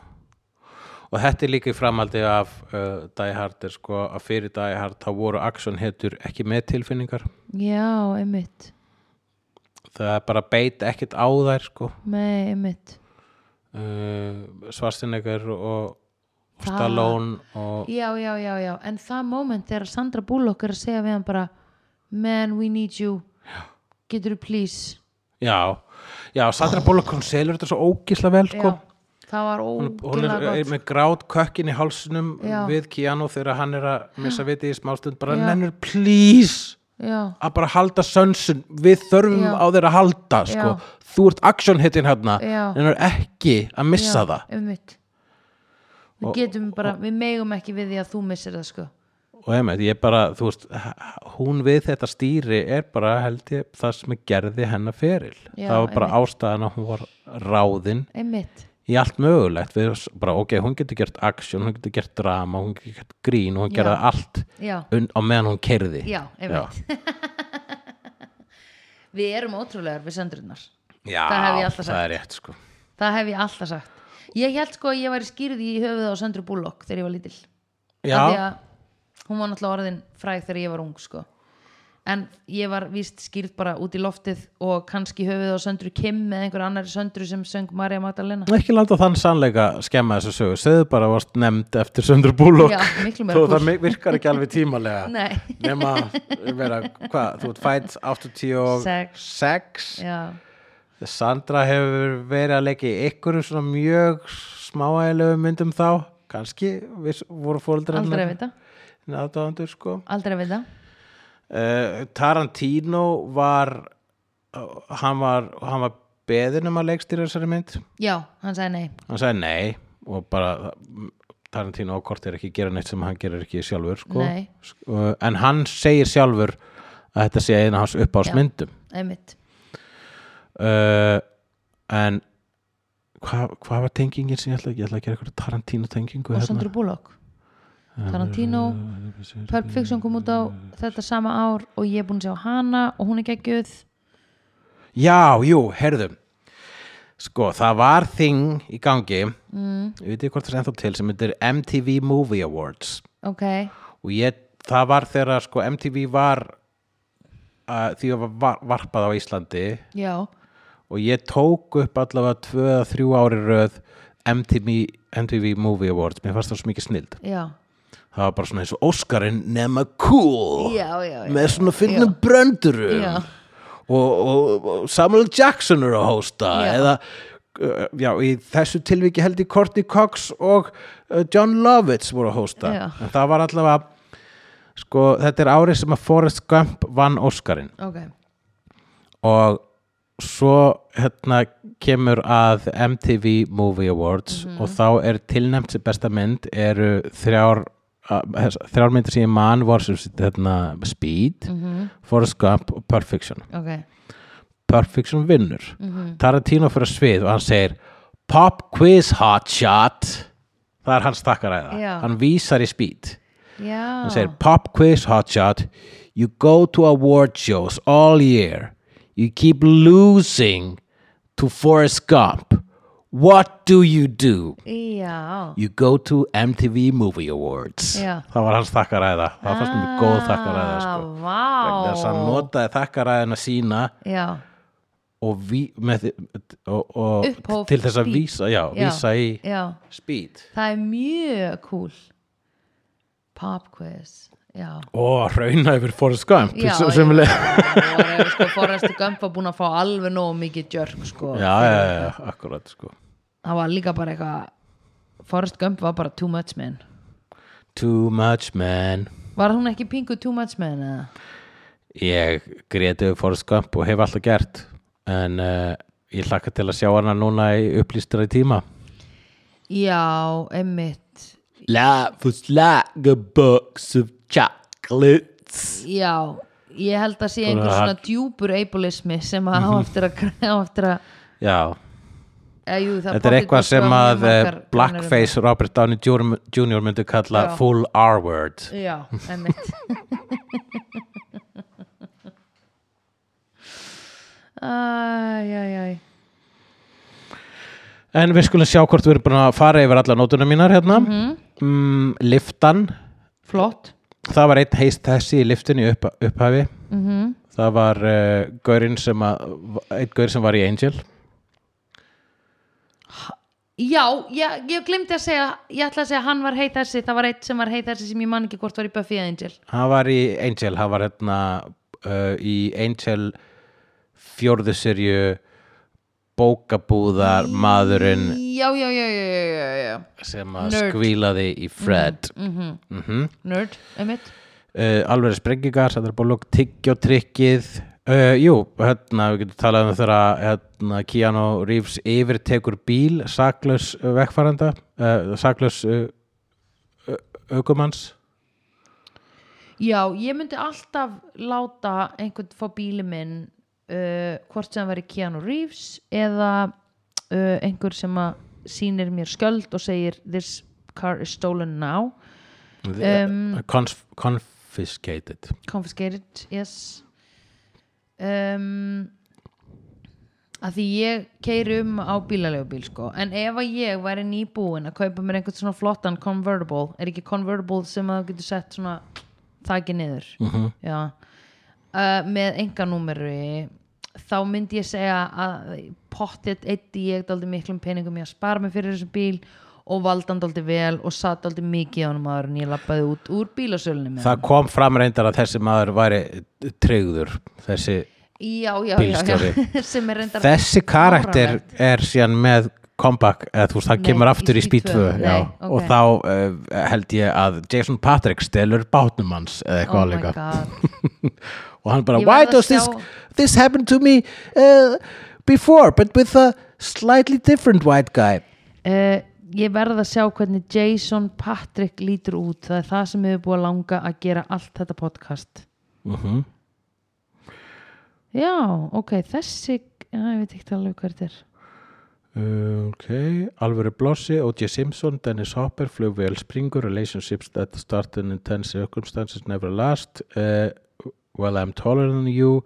og þetta er líka í framhaldi af uh, Die Hard er, sko, að fyrir Die Hard þá voru action hetur ekki með tilfinningar
Já, einmitt
það er bara beit ekkert á þær sko.
Nei, einmitt
uh, Svarstinnegar og, og
Það-
Stallone og
Já, já, já, já En það moment þegar Sandra Bullock er að segja við hann bara Man, we need you Getur þú please
já, já, Sandra Bullock hún selur þetta svo ógísla vel sko.
Já, það var
hún, hún
ógilega
er, eh, er
gott
með grát kökkin í hálsinum
Já.
við Keanu þegar hann er að missa viti í smástund bara
Já.
nennur please
Já,
að bara halda sönsun við þurfum
Já.
á þeir að halda sko. þú ert action hittin hérna
Já.
en er ekki að missa
já,
það
einmitt. Við
Og-
getum bara, við megum ekki við því að þú missir það sko
og einmitt, ég bara, þú veist hún við þetta stýri er bara held ég það sem gerði hennar feril
Já,
það var bara
einmitt.
ástæðan að hún var ráðin
Einmitt,
í allt mögulegt við bara, ok, hún getur gert action, hún getur gert drama hún getur gert grín, hún
Já.
gerði allt
já,
un, á meðan hún kerði
já, einmitt *laughs* Við erum ótrúlegar við söndrunar
Já,
Það hef ég alltaf
það
sagt.
er rétt sko
Það hef ég alltaf sagt Ég held sko að ég væri skýrð í höfuð á söndru búlokk þegar ég var lítil Af því
Já,
að Hún var náttúrulega orðin fræg þegar ég var ung sko En ég var víst skýrð bara út í loftið og kannski í höfuð á söndru Kim eða einhver annari söndru sem söng Maria Magdalena
ekki láta þann sannleika skemma þessu sögu, segðu bara að varst nefnd eftir Söndur Búlokk
Já, miklu meira
þó
kúl.
það mi- virkar ekki alveg tímalega
*laughs* Nei.
nema að vera, hvað, þú ert fætt 86
Já,
Sandra hefur verið að leika í einhverjum svona mjög smáægilegu myndum þá kannski, við voru fóreldrar
aldrei að vita
aðdáðandur sko
Aldrei að vita
uh, Tarantino var hann var, hann var beðin um að leikstýra þessari mynd
Já, hann sagði nei
hann sagði nei og bara Tarantino ákort er ekki að gera neitt sem hann gerir ekki sjálfur sko.
Nei.
Uh, en hann segir sjálfur að þetta sé eina hans uppáðsmyndum
einmitt
uh, en hvað hva var tengingin sem ég ætla, ég ætla að gera hérna? eitthvað Tarantino tengingu
og Sandra Bullock Tarantino,
hérna.
Pulp Fiction kom út á þetta sama ár og ég er búin að sjá hana og hún er geggjöð
já, jú, herðum sko, það var þing í gangi mm. ég veit ekki hvort það er ennþá til sem þetta er MTV Movie Awards
ok,
og ég, það var þegar sko MTV var uh, því að var varpað á Íslandi
já,
og ég tók upp allavega tvö að þrjú ári röð MTV, MTV Movie Awards mér fannst það svo mikið snild
já
það var bara svona eins og Óskarinn nema cool
Já, já, já.
með svona fyndnum bröndurum
Já.
og, og, og Samuel Jackson er að hósta
Já.
eða uh, já, í þessu tilviki held ég Courtney Cox og uh, John Lovitz voru að hósta
Já.
en það var allavega sko, þetta er árið sem að Forrest Gump vann Óskarinn
ok,
og svo hérna kemur að MTV Movie Awards og þá er tilnæmt sem besta mynd eru þrjár að- þess- þrjár myndir sem ég man var sem sagt, hérna, Speed, Forrest Gump og Perfection
ok
Perfection vinnur Tarantino fyrir svið og hann segir Pop quiz hotshot það er hans takkaræða
Já.
hann vísar í Speed
já,
hann segir pop quiz hotshot you go to award shows all year you keep losing to Forrest Gump what do you do
já
you go to MTV Movie Awards
Já.
það var hans þakkaræða það fannst mér góð þakkaræða sko.
Ah,
vegna þess að hann
vá,
notaði þakkaræðina sína
já,
og, ví, með, þi- og, og
Upphóf
til þess að
speed.
vísa, já,
Já.
vísa í
já
speed
það er mjög cool pop quiz já
og hrauna yfir Forrest Gump
Já,
sem,
já.
sem já,
og er, sko, Forrest Gump var búin að fá alveg nógu mikið jörg sko.
já, já, já, akkurat sko.
það var líka bara eitthvað Forrest Gump var bara too much man
too much man
var hún ekki pingu too much man eða?
ég grét yfir Forrest Gump og hef alltaf gert en uh, ég hlakka til að sjá hana núna í upplýstur í tíma
já, einmitt
Life was like a box of chocolates
já, ég held að sé einhver
Bara-
svona djúpur ableismi sem að á eftir að, á eftir að
Já,
Eða, jú, það
Þetta er
pottþétt
eitthvað
búið að
sem
skoða
að
mjög
eh,
margar greinar um
Blackface Robert Downey Jr. Jr. myndi kalla
Já.
full R-word
það. Já, emmitt Æj, æj, æj
En við skulum sjá hvort við erum búin að fara yfir alla nótuna mínar hérna mm
Mhm.
Liftan,
Flott
það var einn heist þessi í liftinni upp, upphafi
mm
Það var uh, gaurinn sem að, einn gaur sem var í Angel
Já, ég, ég glemdi að segja ég ætla að segja að hann var heit þessi það var eitt sem var heit þessi sem ég man ekki hvort var í Buffy eða Angel
Hann var í Angel, hann var hérna uh, í Angel fjórðu serju bókabúðar maðurinn
Já, já, já, já, já, já, já.
sem að
Nerd.
skvílaði í Fred
Mm Nerd, einmitt
uh, alveg sprengingar, sættarbólok, tyggjótrykkið uh, Jú, hérna, við getum talað um þegar hérna, Keanu Reeves yfir tekur bíl saklaus uh, vegfarenda uh, saklaus uh, ö- ökumanns
Já, ég myndi alltaf láta einhvern fá bíli minn uh, hvort sem það væri Keanu Reeves eða uh, einhver sem að sýnir mér skjöld og segir this car is stolen now Um,
um, Conf confiscated
confiscated, yes um, að því ég keiri um á bílalegu bíl sko en ef að ég væri nýbúin að kaupa mér einhvern svona flottan convertible er ekki convertible sem að þú getur sett svona þakið niður -hmm. já, uh, með enganúmeri þá myndi ég segja að pottet eitti ég daldi miklum peningum ég að spara mig fyrir þessum bíl og valdan daldi vel og satt daldi mikið á honum áður en ég lappaði út úr bílasölunni með
Það kom fram reyndar að þessi maður væri tryggður þessi,
já, já,
Bílstjóri.
já, já. *laughs* sem er reyndar
þessi karakter
fáránlegt.
er síðan með comeback, eða þú veist, hann
Nei,
kemur
í
aftur í
Speed
Speed 2
2,
já,
nei, ok.
og þá uh, held ég að Jason Patrick stelur bátnum hans
oh
eða eitthvað
my
líka
god
og hann bara,
Ég
why
verð að
does this,
sjá-
this happen to me uh, before, but with a slightly different white guy
uh, ég verð að sjá hvernig Jason Patrick lítur út það er það sem hefur búið að langa að gera allt þetta podcast já, ok, þessi já, ég veit ekki alveg hvað þetta er
Uh, ok, alvöru blossi, O.J. Simpson, Dennis Hopper, flugvél Springer, relationships that start in intense circumstances never last, uh, well I'm taller than you,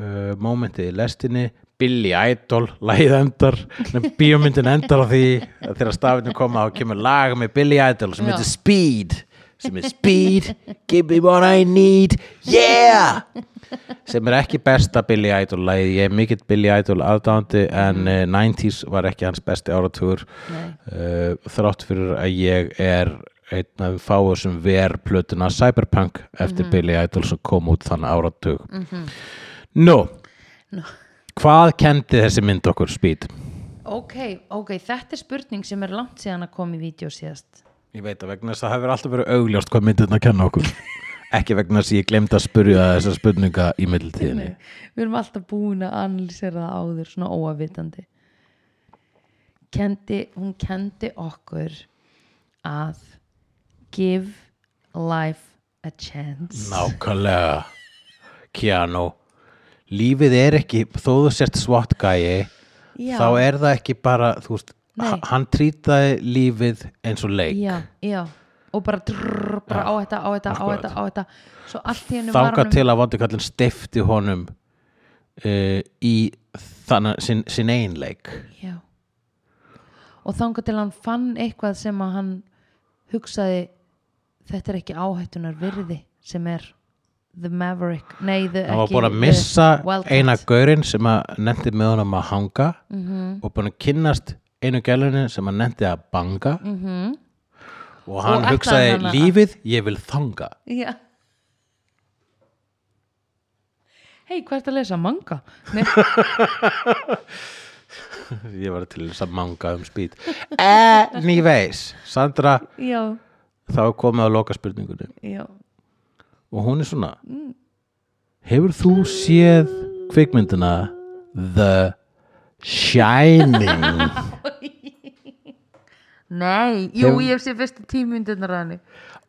uh, momentið í lestinni, Billy Idol, *laughs* lagið endar, nefn bíómyndin endar á því að þegar stafinu koma og kemur lag með Billy Idol sem
Já.
heitir Speed, sem er Speed, give me what I need, yeah! sem er ekki besta Billy Idol lagið, ég er mikill Billy Idol aðdándi en uh, 90s var ekki hans besti áratúr
Nei.
uh, þrátt fyrir að ég er einn af fáu sem ver plötuna Cyberpunk eftir Billy Idol sem kom út þann áratug Nú Hvað kendi þessi mynd okkur Speed?
ok, ok, þetta er spurning sem er langt síðan að koma í vídeo síðast
Ég veit að vegna þess að það hefur alltaf verið augljóst hvað myndin að kenna okkur *laughs* ekki vegna þess að ég glemd að spurja þessar spurninga í middiltíðinni
við erum alltaf búin að analýsera það áður svona óavitandi kendi, hún kendi okkur að give life a chance
Nákvæmlega Keanu Lífið er ekki, þó þú sért svartgæi
Já.
þá er það ekki bara þú veist,
Nei.
h- hann trýtaði lífið eins og leik
já, já og bara, drrr, bara á þetta, á þetta, á þetta, á þetta svo allt í hennu var
þangað
hann
til að vondikallin stifti honum uh, í þannig sin, sin ein leik
já. og þangað til hann fann eitthvað sem að hann hugsaði þetta er ekki áhættunar virði sem er the maverick nei, the,
hann var
ekki eh,
búin að
the
missa
wildcat.
eina gaurinn sem að nefndi með honum að hanga
Mhm.
og búin að kynnast einu gælunni sem að nefndi að banga -hmm.
Mhm. Og
og hann
ætlaði
hugsaði
hann að-
lífið, ég vil þanga
Já Hei, hvað ertu að lesa? Manga? Nei,
ég var til þess að manga um spýt anyways, Sandra
*laughs* já,
þá er komið að loka spurningunni
já
og hún er svona hefur þú séð kvikmyndina The Shining
Nei, jú,
Hef-
ég hef séð fyrstu tímyndunar að henni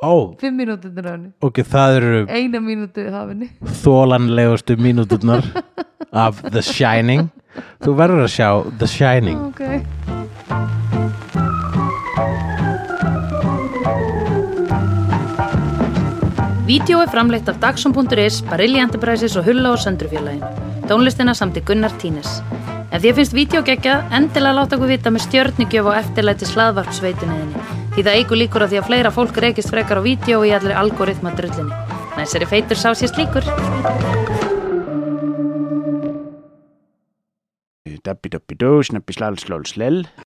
ó,
Fimm mínútunar að henni
ok, það eru
Eina mínútu af henni
þólanlegustu mínúturnar af The Shining þú verður að sjá The Shining
ok Vídeó er framleitt af Dagsum.is, Barilli Enterprises og Hulla og Söndrufjörlægin. Tónlistina samti Gunnar Tínes. Ef þér finnst vídeo geggjað, endilega láta okkur vita með stjörnigjöf og eftirlæti slaðvartsveituninni. Því það eigur líkur á því að fleira fólk reykist frekar á vídeo í allir algoritma drullinni. Næsari feitur sá sér slíkur.
Dabbi dabbi dó, snabbi slal slól slel.